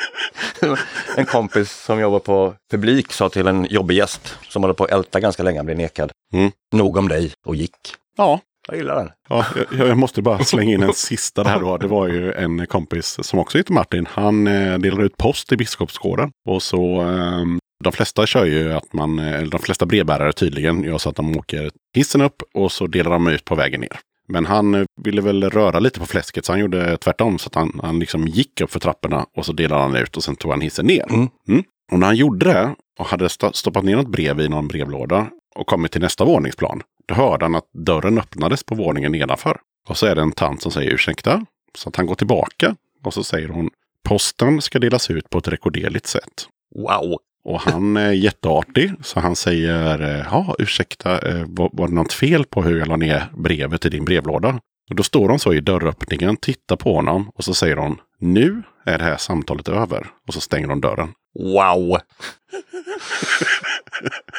A: en kompis som jobbar på publik sa till en jobbig gäst som håller på att älta ganska länge, han blev nekad.
D: Mm.
A: Nog om dig, och gick.
D: Ja,
A: Jag gillar den.
D: Ja, jag, jag måste bara slänga in en sista där då. Det var ju en kompis som också heter Martin. Han eh, delar ut post i Biskopsgården. Och så, eh, de flesta kör ju att man, eh, eller de flesta brevbärare tydligen, gör så att de åker hissen upp och så delar de ut på vägen ner. Men han eh, ville väl röra lite på fläsket så han gjorde tvärtom. Så att han, han liksom gick upp för trapporna och så delade han ut och sen tog han hissen ner.
A: Mm.
D: Och när han gjorde det och hade sta- stoppat ner något brev i någon brevlåda och kommit till nästa våningsplan, då hörde han att dörren öppnades på våningen nedanför. Och så är det en tant som säger ursäkta. Så att han går tillbaka och så säger hon posten ska delas ut på ett rekorderligt sätt.
A: Wow!
D: Och han är jätteartig så han säger eh, ja ursäkta eh, var, var det något fel på hur jag la ner brevet i din brevlåda? Och då står hon så i dörröppningen, tittar på honom och så säger hon nu är det här samtalet över. Och så stänger hon dörren.
A: Wow!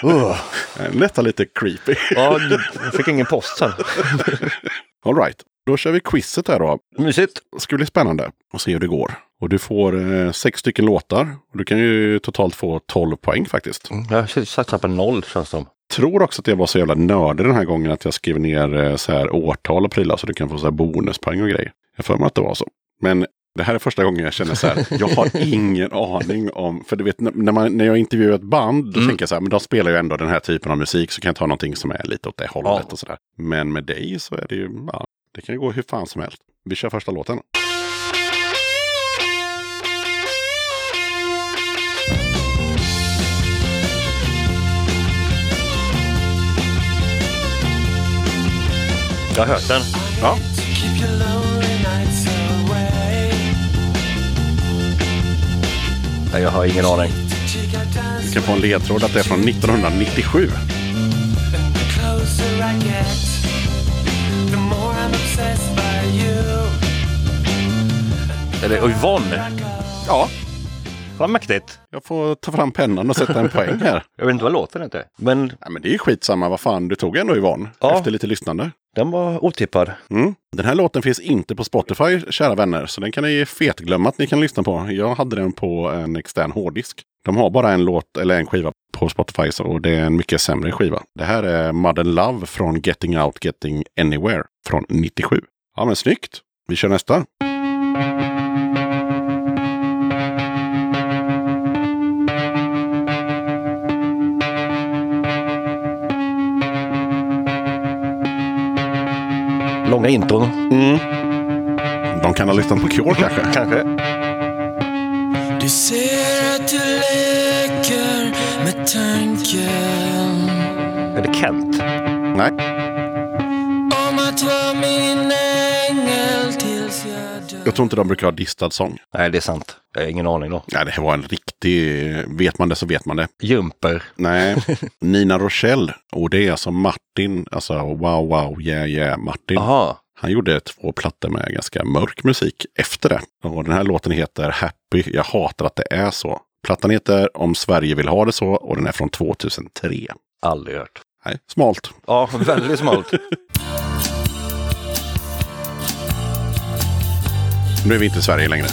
A: oh,
D: Detta Eh, lite creepy.
A: ja, jag fick ingen post sen.
D: All right. Då kör vi quizet här då.
A: Mysigt!
D: Det ska bli spännande och se hur det går. Och du får eh, sex stycken låtar. Och du kan ju totalt få 12 poäng faktiskt.
A: Jag har satsat på noll känns som.
D: Tror också att jag var så jävla nördig den här gången att jag skrev ner eh, så här årtal och prylar så du kan få så här bonuspoäng och grejer. Jag får mig att det var så. Men det här är första gången jag känner så här, jag har ingen aning om, för du vet n- när, man, när jag intervjuar ett band, då tänker jag så här, men de spelar ju ändå den här typen av musik så kan jag ta någonting som är lite åt det hållet
A: Ja.
D: och sådär. Men med dig så är det ju, ja, det kan ju gå hur fan som helst. Vi kör första låten.
A: Jag har hört den.
D: Ja,
E: Keep your lonely nights away.
A: Nej, jag har ingen aning.
E: She got
D: du
E: dance
D: kan få en ledtråd att det är från 1997.
E: and the closer I get, the more I'm obsessed by you.
A: Är det Yvonne?
D: Ja,
A: Vad mäktigt!
D: jag får ta fram pennan och sätta en poäng här.
A: Jag vet inte vad låten heter, men
D: Nej, men det är ju skitsamma, vad fan, du tog ändå Yvonne
A: Ja.
D: efter lite lyssnande.
A: den var otippad.
D: Mm. Den här låten finns inte på Spotify, kära vänner, så den kan ni fetglömma att ni kan lyssna på. Jag hade den på en extern hårddisk. De har bara en låt eller en skiva på Spotify så- och det är en mycket sämre skiva. Det här är eh, Mud and Love från Getting Out Getting Anywhere från 97. Ja men snyggt! Vi kör nästa.
A: Långa intron, Mm.
D: De kan ha lyssnat på Cure kanske.
A: kanske.
E: Du ser att du leker med tanken
C: att vara min ängel tills jag dör
D: Jag tror inte de brukar ha distad sång.
A: Nej, det är sant. Jag har ingen aning då.
D: Nej, det här var en riktig... Vet man det så vet man det.
A: Jumper.
D: Nej, Nina Rochelle. Och det är alltså Martin, alltså wow, wow, yeah, yeah, Martin.
A: Jaha.
D: Han gjorde två plattor med ganska mörk musik efter det. Och den här låten heter Happy. Jag hatar att det är så. Plattan heter Om Sverige vill ha det så och den är från 2003.
A: Aldrig hört.
D: Nej, smalt.
A: Ja, väldigt smalt.
D: Nu är vi inte i Sverige längre.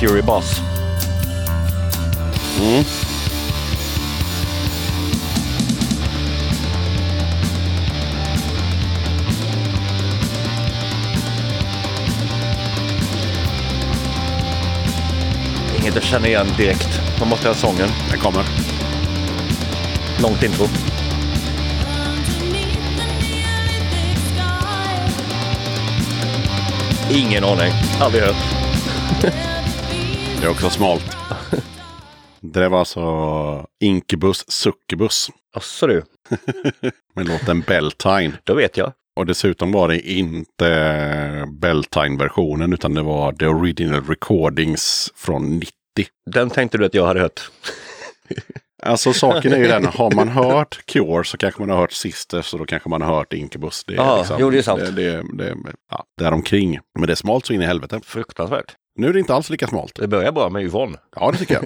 A: Curie Boss. Mm. Inget jag känner igen direkt. Man måste ha sången.
D: Den kommer.
A: Långt intro. Ingen aning. Aldrig hört.
D: Det är också smalt. Det där var alltså Inkebus Succubus
A: Asså du,
D: med låten Beltine.
A: då vet jag.
D: Och dessutom var det inte Beltine-versionen utan det var The Original Recordings från 90.
A: Den tänkte du att jag hade hört.
D: Alltså saken är ju den, har man hört Cure så kanske man har hört Sisters och då kanske man har hört Inkebus. Det är
A: Ja,
D: liksom-
A: jo, det är sant.
D: Det, det, det, ja, däromkring. Men det är smalt så in i helvete.
A: Fruktansvärt.
D: Nu är det inte alls lika smalt.
A: Det börjar bara med Yvonne.
D: Ja, det tycker jag.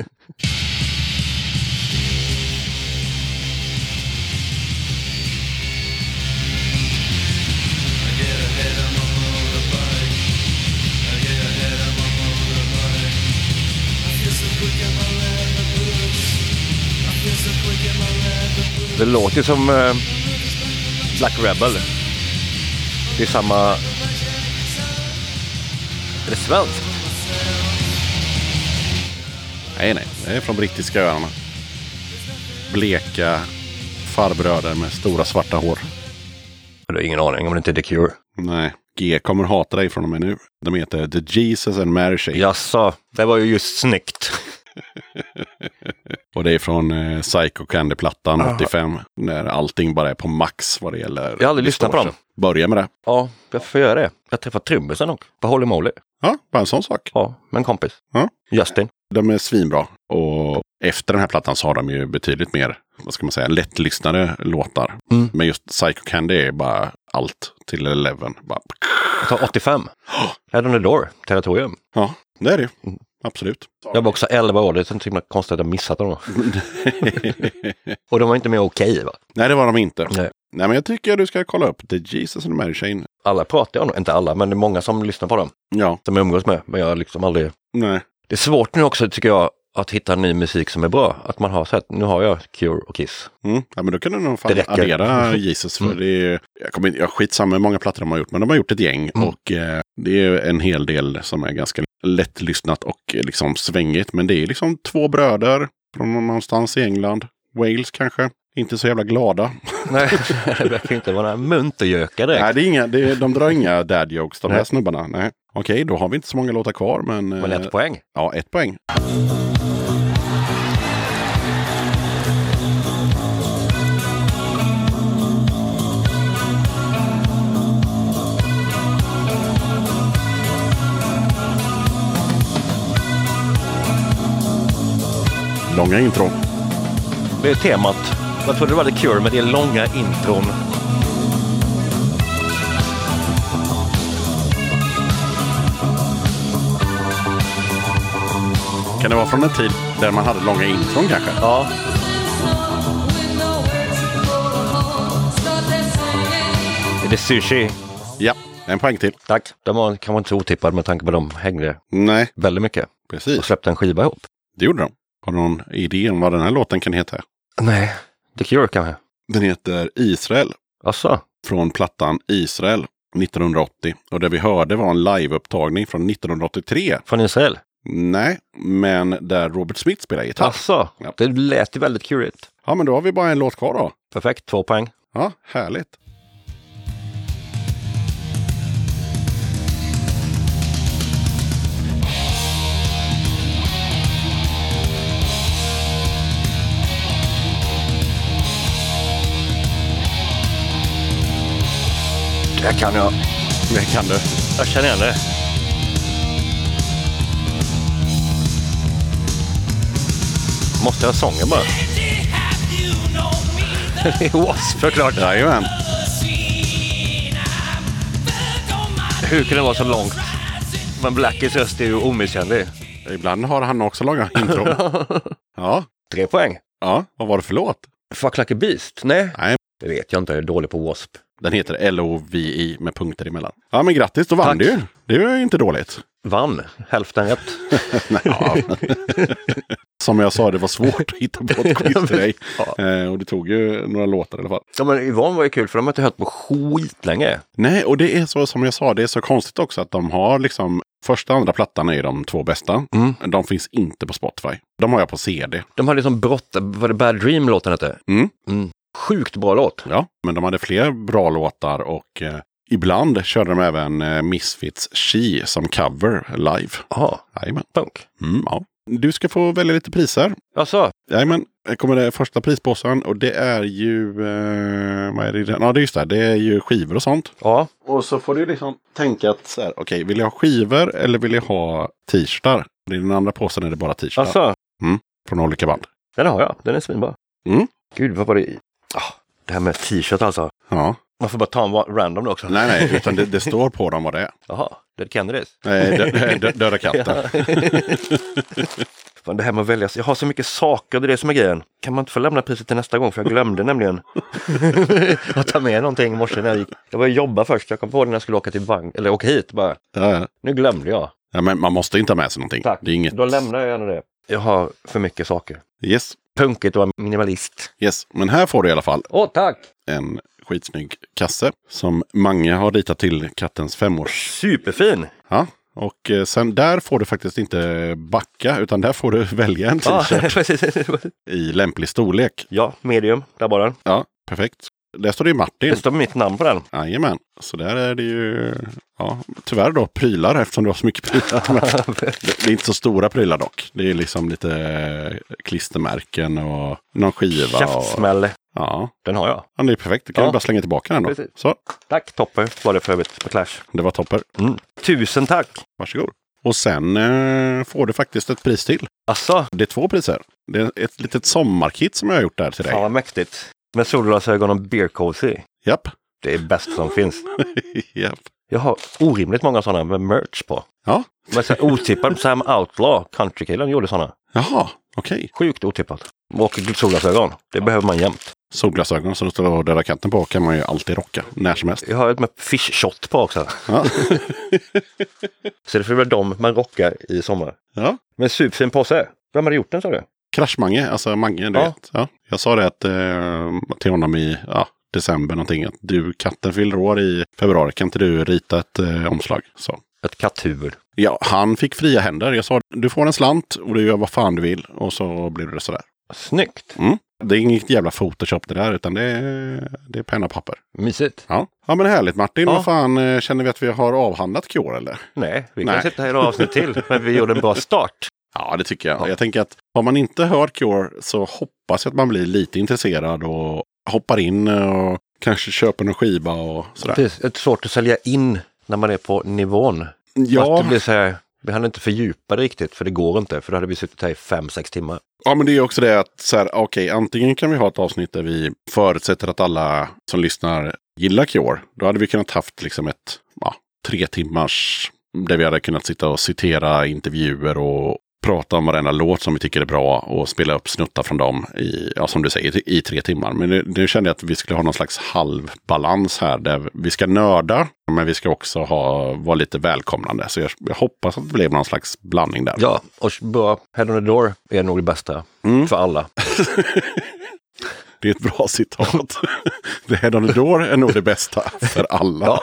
A: Det låter ju som eh, Black Rebel. Det är samma... Är det svenskt?
D: nej, nej. Det är från brittiska öarna. Bleka farbröder med stora svarta hår.
A: Jag har ingen aning om det inte är The Cure.
D: Nej, G kommer hata dig från och med nu. De heter The Jesus and Mary Shape.
A: Jaså, det var ju just snyggt.
D: Och det är från eh, Psycho Candy-plattan 85. När allting bara är på max vad det gäller.
A: Jag har aldrig lyssnat på dem.
D: distortion. Börja med det.
A: Ja, jag får göra det. Jag träffade trummisen och på Holy Moly.
D: Ja, bara en sån sak.
A: Ja, med en kompis.
D: Ja.
A: Justin.
D: De är svinbra. Och efter den här plattan så har de ju betydligt mer, vad ska man säga, lättlyssnade låtar.
A: Mm.
D: Men just Psycho Candy är bara allt till eleven. Bara,
A: Jag tar 85. Head on the Door, Territorium.
D: ja, det är det ju. Absolut.
A: Jag var också 11 år, det är så himla konstigt att jag missat dem. Och de var inte mer okej va?
D: Nej, det var de inte. Nej.
A: Nej.
D: men jag tycker du ska kolla upp The Jesus and Mary Chain.
A: Alla pratar jag nog, inte alla, men det är många som lyssnar på dem.
D: Ja,
A: Som jag umgås med, men jag har liksom aldrig
D: nej.
A: Det är svårt nu också tycker jag att hitta ny musik som är bra. Att man har så här, nu har jag Cure och Kiss.
D: Mm. Ja, men då kan du nog fan
A: Det räcker.
D: addera Jesus. För
A: Mm.
D: det är, jag, kommer, inte- jag skitsamma hur många plattor de har gjort, men de har gjort ett gäng.
A: Mm.
D: Och eh, det är ju en hel del som är ganska lättlyssnat och eh, liksom svängigt. Men det är liksom två bröder från någonstans i England. Wales kanske. Inte så jävla glada.
A: Nej, det verkar inte vara några muntergökar direkt.
D: Nej, det är inga, det är, de drar inga dad jokes de här
A: Nej.
D: snubbarna. Nej. Okej, då har vi inte så många låtar kvar, men,
A: Men
D: eh,
A: ett poäng.
D: ja, ett poäng. Långa intro.
A: Det är temat. Jag trodde det var The Cure, men det är långa intron.
D: Kan det vara från en tid där man hade långa intron kanske?
A: Ja, det är Sushi.
D: Ja, en poäng till.
A: Tack. De var kanske inte så otippade med tanke på att de hängde
D: Nej,
A: väldigt mycket och
D: precis.
A: släppte en skiva ihop.
D: Det gjorde de. Har du någon idé om vad den här låten kan heta?
A: Nej, The Cure kanske.
D: Den heter Israel
A: Asså?
D: från plattan Israel 1980. Och det vi hörde var en liveupptagning från 1983.
A: Från Israel?
D: Nej, men där Robert Smith spelar gitarr.
A: Asså?
D: Ja.
A: Det lät ju väldigt curigt.
D: Ja, men då har vi bara en låt kvar då.
A: Perfekt, två poäng.
D: Ja, härligt.
A: Det här kan jag. Det här kan du. Jag känner igen det. Måste jag ha sången bara? Det är Wasp såklart.
D: Jajamän.
A: Hur kan det vara så långt? Men Blackies röst är ju omisskännlig.
D: Ibland har han också lagat intro. ja.
A: Tre poäng.
D: ja, vad var det för låt?
A: Fuck like a beast? Nej.
D: Nej.
A: Det vet jag inte. Jag är dålig på Wasp.
D: Den heter LOVI med punkter emellan. Ja, men grattis, då vann
A: Tack.
D: du ju. Det var ju inte dåligt.
A: Vann. Hälften rätt.
D: Nej, ja. Som jag sa, det var svårt att hitta på ett quiz till dig.
A: Ja.
D: Eh, och det tog ju några låtar i alla fall.
A: Ja, men Yvonne var ju kul för de har inte hört på skitlänge.
D: Nej, och det är så som jag sa, det är så konstigt också att de har liksom första och andra plattan är ju de två bästa. De finns inte på Spotify. De har jag på CD.
A: De hade liksom brott, var det Bad Dream låten hette?
D: Mm.
A: Sjukt bra låt.
D: Ja, men de hade fler bra låtar och eh, ibland körde de även eh, Misfits She som cover live.
A: Jaha,
D: Jajamän.
A: punk.
D: Mm, ja. Du ska få välja lite priser.
A: Alltså,
D: Jajamän, här kommer det första prispåsen och det är ju... Eh, vad är det? i den? Ja, det är just det. Det är ju skivor och sånt.
A: ja.
D: Och så får du liksom tänka att så här, okej, vill jag ha skivor eller vill jag ha t-shirtar? I den andra påsen är det bara t-shirtar
A: Alltså,
D: från olika band.
A: den har jag. Den är svinbra.
D: Mm.
A: Gud, vad var det i? Ah, det här med t-shirt alltså.
D: Ja,
A: Man får bara ta en va- random då också.
D: nej, nej, utan det, det står på dem vad det är.
A: Jaha, Dead Kennedys.
D: Eh, dö- dö- Döda katten.
A: Fan, det här med att välja, jag har så mycket saker, det är det som är grejen. Kan man inte få lämna priset till nästa gång? För jag glömde nämligen att ta med någonting i morse när jag gick. Jag var och jobbade först, jag kom på det när jag skulle åka till bank, eller åka hit bara.
D: Ja,
A: Nu glömde jag.
D: Ja, men man måste inte ha med sig någonting.
A: Tack.
D: Det är inget...
A: Då lämnar jag gärna det. Jag har för mycket saker.
D: Yes,
A: Punkigt att vara minimalist.
D: yes. Men här får du i alla fall
A: Åh, tack!
D: en skitsnygg kasse som Mange har ritat till kattens femårs.
A: Superfin!
D: Ja. Och eh, sen där får du faktiskt inte backa utan där får du välja en
A: Ja,
D: t-shirt
A: precis.
D: i lämplig storlek.
A: ja, medium. Där bara. den.
D: Ja, perfekt. Där står det ju Martin.
A: Det står mitt namn på den.
D: Jajamän, så där är det ju ja, tyvärr då prylar eftersom du har så mycket prylar. Men det är inte så stora prylar dock. Det är liksom lite eh, klistermärken och någon skiva. Och,
A: Käftsmäll.
D: ja,
A: Den har jag.
D: ja, det är perfekt. Då kan
A: Ja.
D: du bara slänga tillbaka den då.
A: Precis.
D: Så,
A: Tack Topper var det för övrigt på Clash.
D: det var topper.
A: Mm. Tusen tack!
D: Varsågod. Och sen eh, får du faktiskt ett pris till.
A: Alltså,
D: Det är två priser. Det är ett litet sommarkit som jag har gjort där till dig.
A: fan vad mäktigt. Med solglasögon och beer cozy.
D: Japp.
A: Det är bäst som finns.
D: Japp.
A: Jag har orimligt många sådana med merch på.
D: Ja.
A: Men så här otippad Sam Outlaw, countrykillen, gjorde sådana.
D: Jaha, okej.
A: Sjukt otippat. Och solglasögon. Det behöver man jämt.
D: Solglasögon som det står Döda katten på kan man ju alltid rocka när som helst.
A: Jag har ett med fish shot på också.
D: Ja.
A: Så det får väl dem man rockar i sommar.
D: ja.
A: Men superfin påse. Vem hade gjort den sa du?
D: Kraschmange, alltså Mange, du
A: Ja.
D: vet. Ja. Jag sa det att, eh, till honom i ja, december någonting, att du, katten fyller år i februari, kan inte du rita ett eh, omslag? Så.
A: Ett katthuvud.
D: Ja, han fick fria händer. Jag sa du får en slant och du gör vad fan du vill och så blir det sådär.
A: Snyggt!
D: Mm. Det är inget jävla photoshop det där utan det är, det är penna och papper.
A: Mysigt.
D: Ja. ja men härligt Martin,
A: Ja.
D: vad fan eh, känner vi att vi har avhandlat Cure eller?
A: Nej, vi
D: Nej.
A: kan sitta här i några avsnitt till. Men vi gjorde en bra start.
D: Ja, det tycker jag.
A: Ja.
D: Jag tänker att har man inte hört Cure så hoppas jag att man blir lite intresserad och hoppar in och kanske köper någon skiva och sådär.
A: Det är svårt att sälja in när man är på nivån. Att
D: Ja,
A: det blir så här, vi hann inte fördjupa det riktigt för det går inte. För då hade vi suttit här i fem, sex timmar.
D: ja, men det är också det att så här, okej, antingen kan vi ha ett avsnitt där vi förutsätter att alla som lyssnar gillar Cure. Då hade vi kunnat haft liksom ett ja, tre timmars där vi hade kunnat sitta och citera intervjuer och prata om varenda låt som vi tycker är bra och spela upp snuttar från dem i, ja, som du säger, i tre timmar. Men nu, nu kände jag att vi skulle ha någon slags halvbalans här där vi ska nörda, men vi ska också ha, vara lite välkomnande. Så jag, jag hoppas att det blev någon slags blandning där.
A: Ja, och bra. Head on the door är nog det bästa
D: Mm.
A: för alla.
D: Det är ett bra citat. the head on the door är nog det bästa för alla.
A: Ja.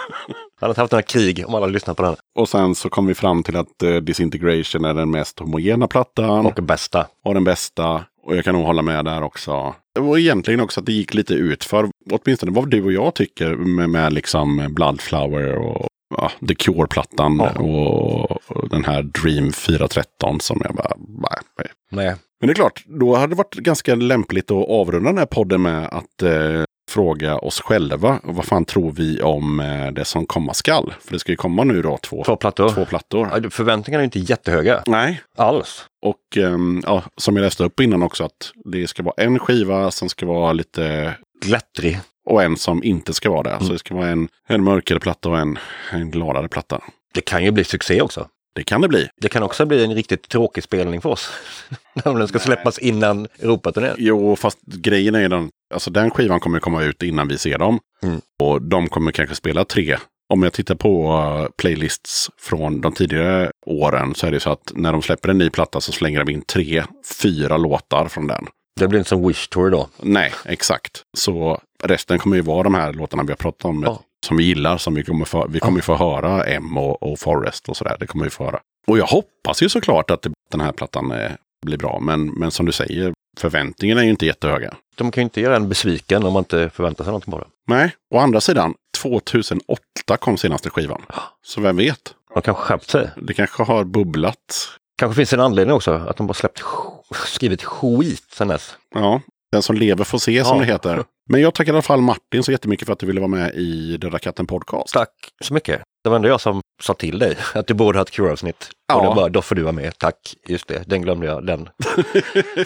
A: Han hade haft några krig om alla lyssnat på den.
D: Och sen så kom vi fram till att eh, Disintegration är den mest homogena plattan.
A: Och det bästa.
D: var den bästa. Och jag kan nog hålla med där också. Det var egentligen också att det gick lite utför. Åtminstone vad du och jag tycker med, med liksom Bloodflower och ja, The Cure-plattan.
A: Ja.
D: Och, och den här Dream 413 som jag bara... nej, nej.
A: Nej.
D: Men det är klart, då hade det varit ganska lämpligt att avrunda den här podden med att eh, fråga oss själva vad fan tror vi om eh, det som komma skall? För det ska ju komma nu då två,
A: Två plattor.
D: två plattor.
A: Ja, Förväntningarna är ju inte jättehöga
D: Nej,
A: alls.
D: och ehm, ja, som jag läste upp innan också att det ska vara en skiva som ska vara lite
A: Glättrig.
D: och en som inte ska vara det.
A: Mm.
D: Så det ska vara en, en mörkare platta och en, en gladare platta.
A: Det kan ju bli succé också.
D: Det kan det bli.
A: Det kan också bli en riktigt tråkig spelning för oss. Om den ska släppas innan Europaturnén.
D: Jo, fast grejen är ju den, alltså den skivan kommer komma ut innan vi ser dem.
A: Mm.
D: Och de kommer kanske spela tre. Om jag tittar på eh, playlists från de tidigare åren så är det ju så att när de släpper en ny platta så slänger de in tre, fyra låtar från den.
A: Det blir inte som Wish Tour då.
D: Nej, exakt. Så resten kommer ju vara de här låtarna vi har pratat om.
A: Ja.
D: Som vi gillar, som vi kommer få, vi kommer ju få höra M och, och Forrest och sådär. Det kommer vi få höra. Och jag hoppas ju såklart att det, den här plattan eh, blir bra. Men, men som du säger, förväntningarna är ju inte jättehöga.
A: De kan ju inte göra en besviken om man inte förväntar sig någonting på det.
D: Nej, å andra sidan, 2008 kom senaste skivan. Så vem vet?
A: De kanske skärpt sig.
D: Det kanske har bubblat.
A: Kanske finns en anledning också att de bara släppt sk- skrivit skit sen dess.
D: Ja, den som lever får se som
A: Ja.
D: det heter. Men jag tackar i alla fall Martin så jättemycket för att du ville vara med i Döda katten podcast.
A: Tack så mycket. Det var ändå jag som sa till dig att du borde ha ett Cure-avsnitt.
D: Ja.
A: Och då bara, då får du vara med, tack. Just det, den glömde jag, den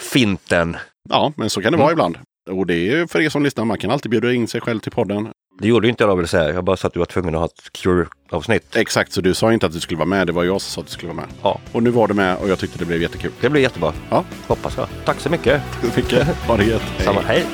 A: finten.
D: Ja, men så kan det
A: Mm.
D: vara ibland. Och det är ju för er som lyssnar, man kan alltid bjuda in sig själv till podden.
A: Det gjorde ju inte jag då, vill säga. Jag bara sa att du var tvungen att ha ett Cure-avsnitt.
D: Exakt, så du sa inte att du skulle vara med, det var jag som sa att du skulle vara med.
A: Ja,
D: Och nu var du med och jag tyckte det blev jättekul.
A: det blir jättebra.
D: Ja,
A: Hoppas jag. Tack så mycket.
D: mycket. Ha det gött. Hej.
A: Samma, hej.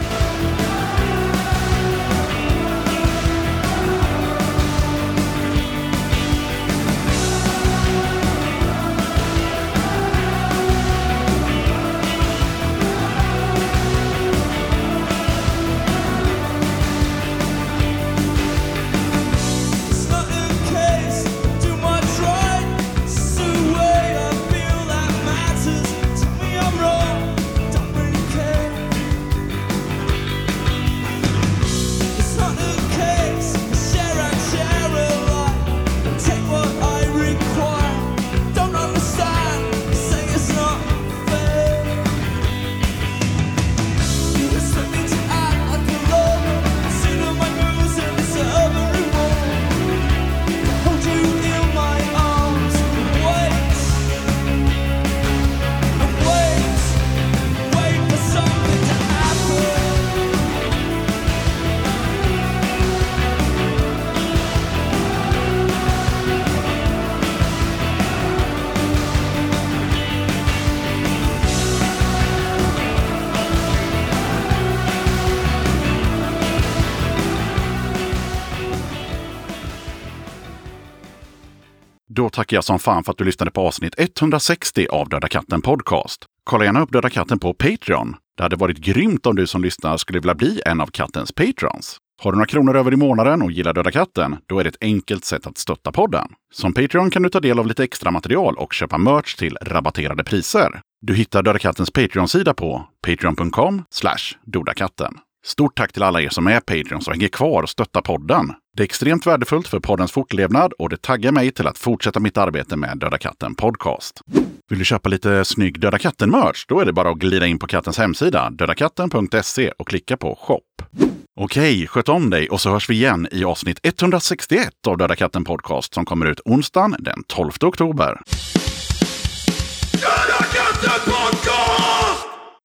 E: It's not the case. Do my right. It's the way I feel that matters. Tell me I'm wrong. Don't really care. It's not the case. Share and share a lot. Take what I require. Don't understand. Say it's not fair. You expect me to act like a lover. Sit on my moves and it's over and over. Hold you in my arms and wait and wait, wait for something to happen.
D: Då tackar jag som fan för att du lyssnade på avsnitt 160 av Döda katten podcast. Kolla gärna upp Döda katten på Patreon. Det hade varit grymt om du som lyssnar skulle vilja bli en av kattens patrons. Har du några kronor över i månaden och gillar Döda katten? Då är det ett enkelt sätt att stötta podden. Som Patreon kan du ta del av lite extra material och köpa merch till rabatterade priser. Du hittar Döda kattens Patreon-sida på patreon.com dodakatten. Stort tack till alla er som är Patreons och hänger kvar och stöttar podden. Det är extremt värdefullt för poddens fortlevnad och det taggar mig till att fortsätta mitt arbete med Döda katten Podcast. Vill du köpa lite snygg Döda katten-merch? Då är det bara att glida in på kattens hemsida, dödakatten.se och klicka på shop. Okej, sköt om dig och så hörs vi igen i avsnitt 161 av Döda katten Podcast som kommer ut onsdagen den 12 oktober.
E: Döda katten på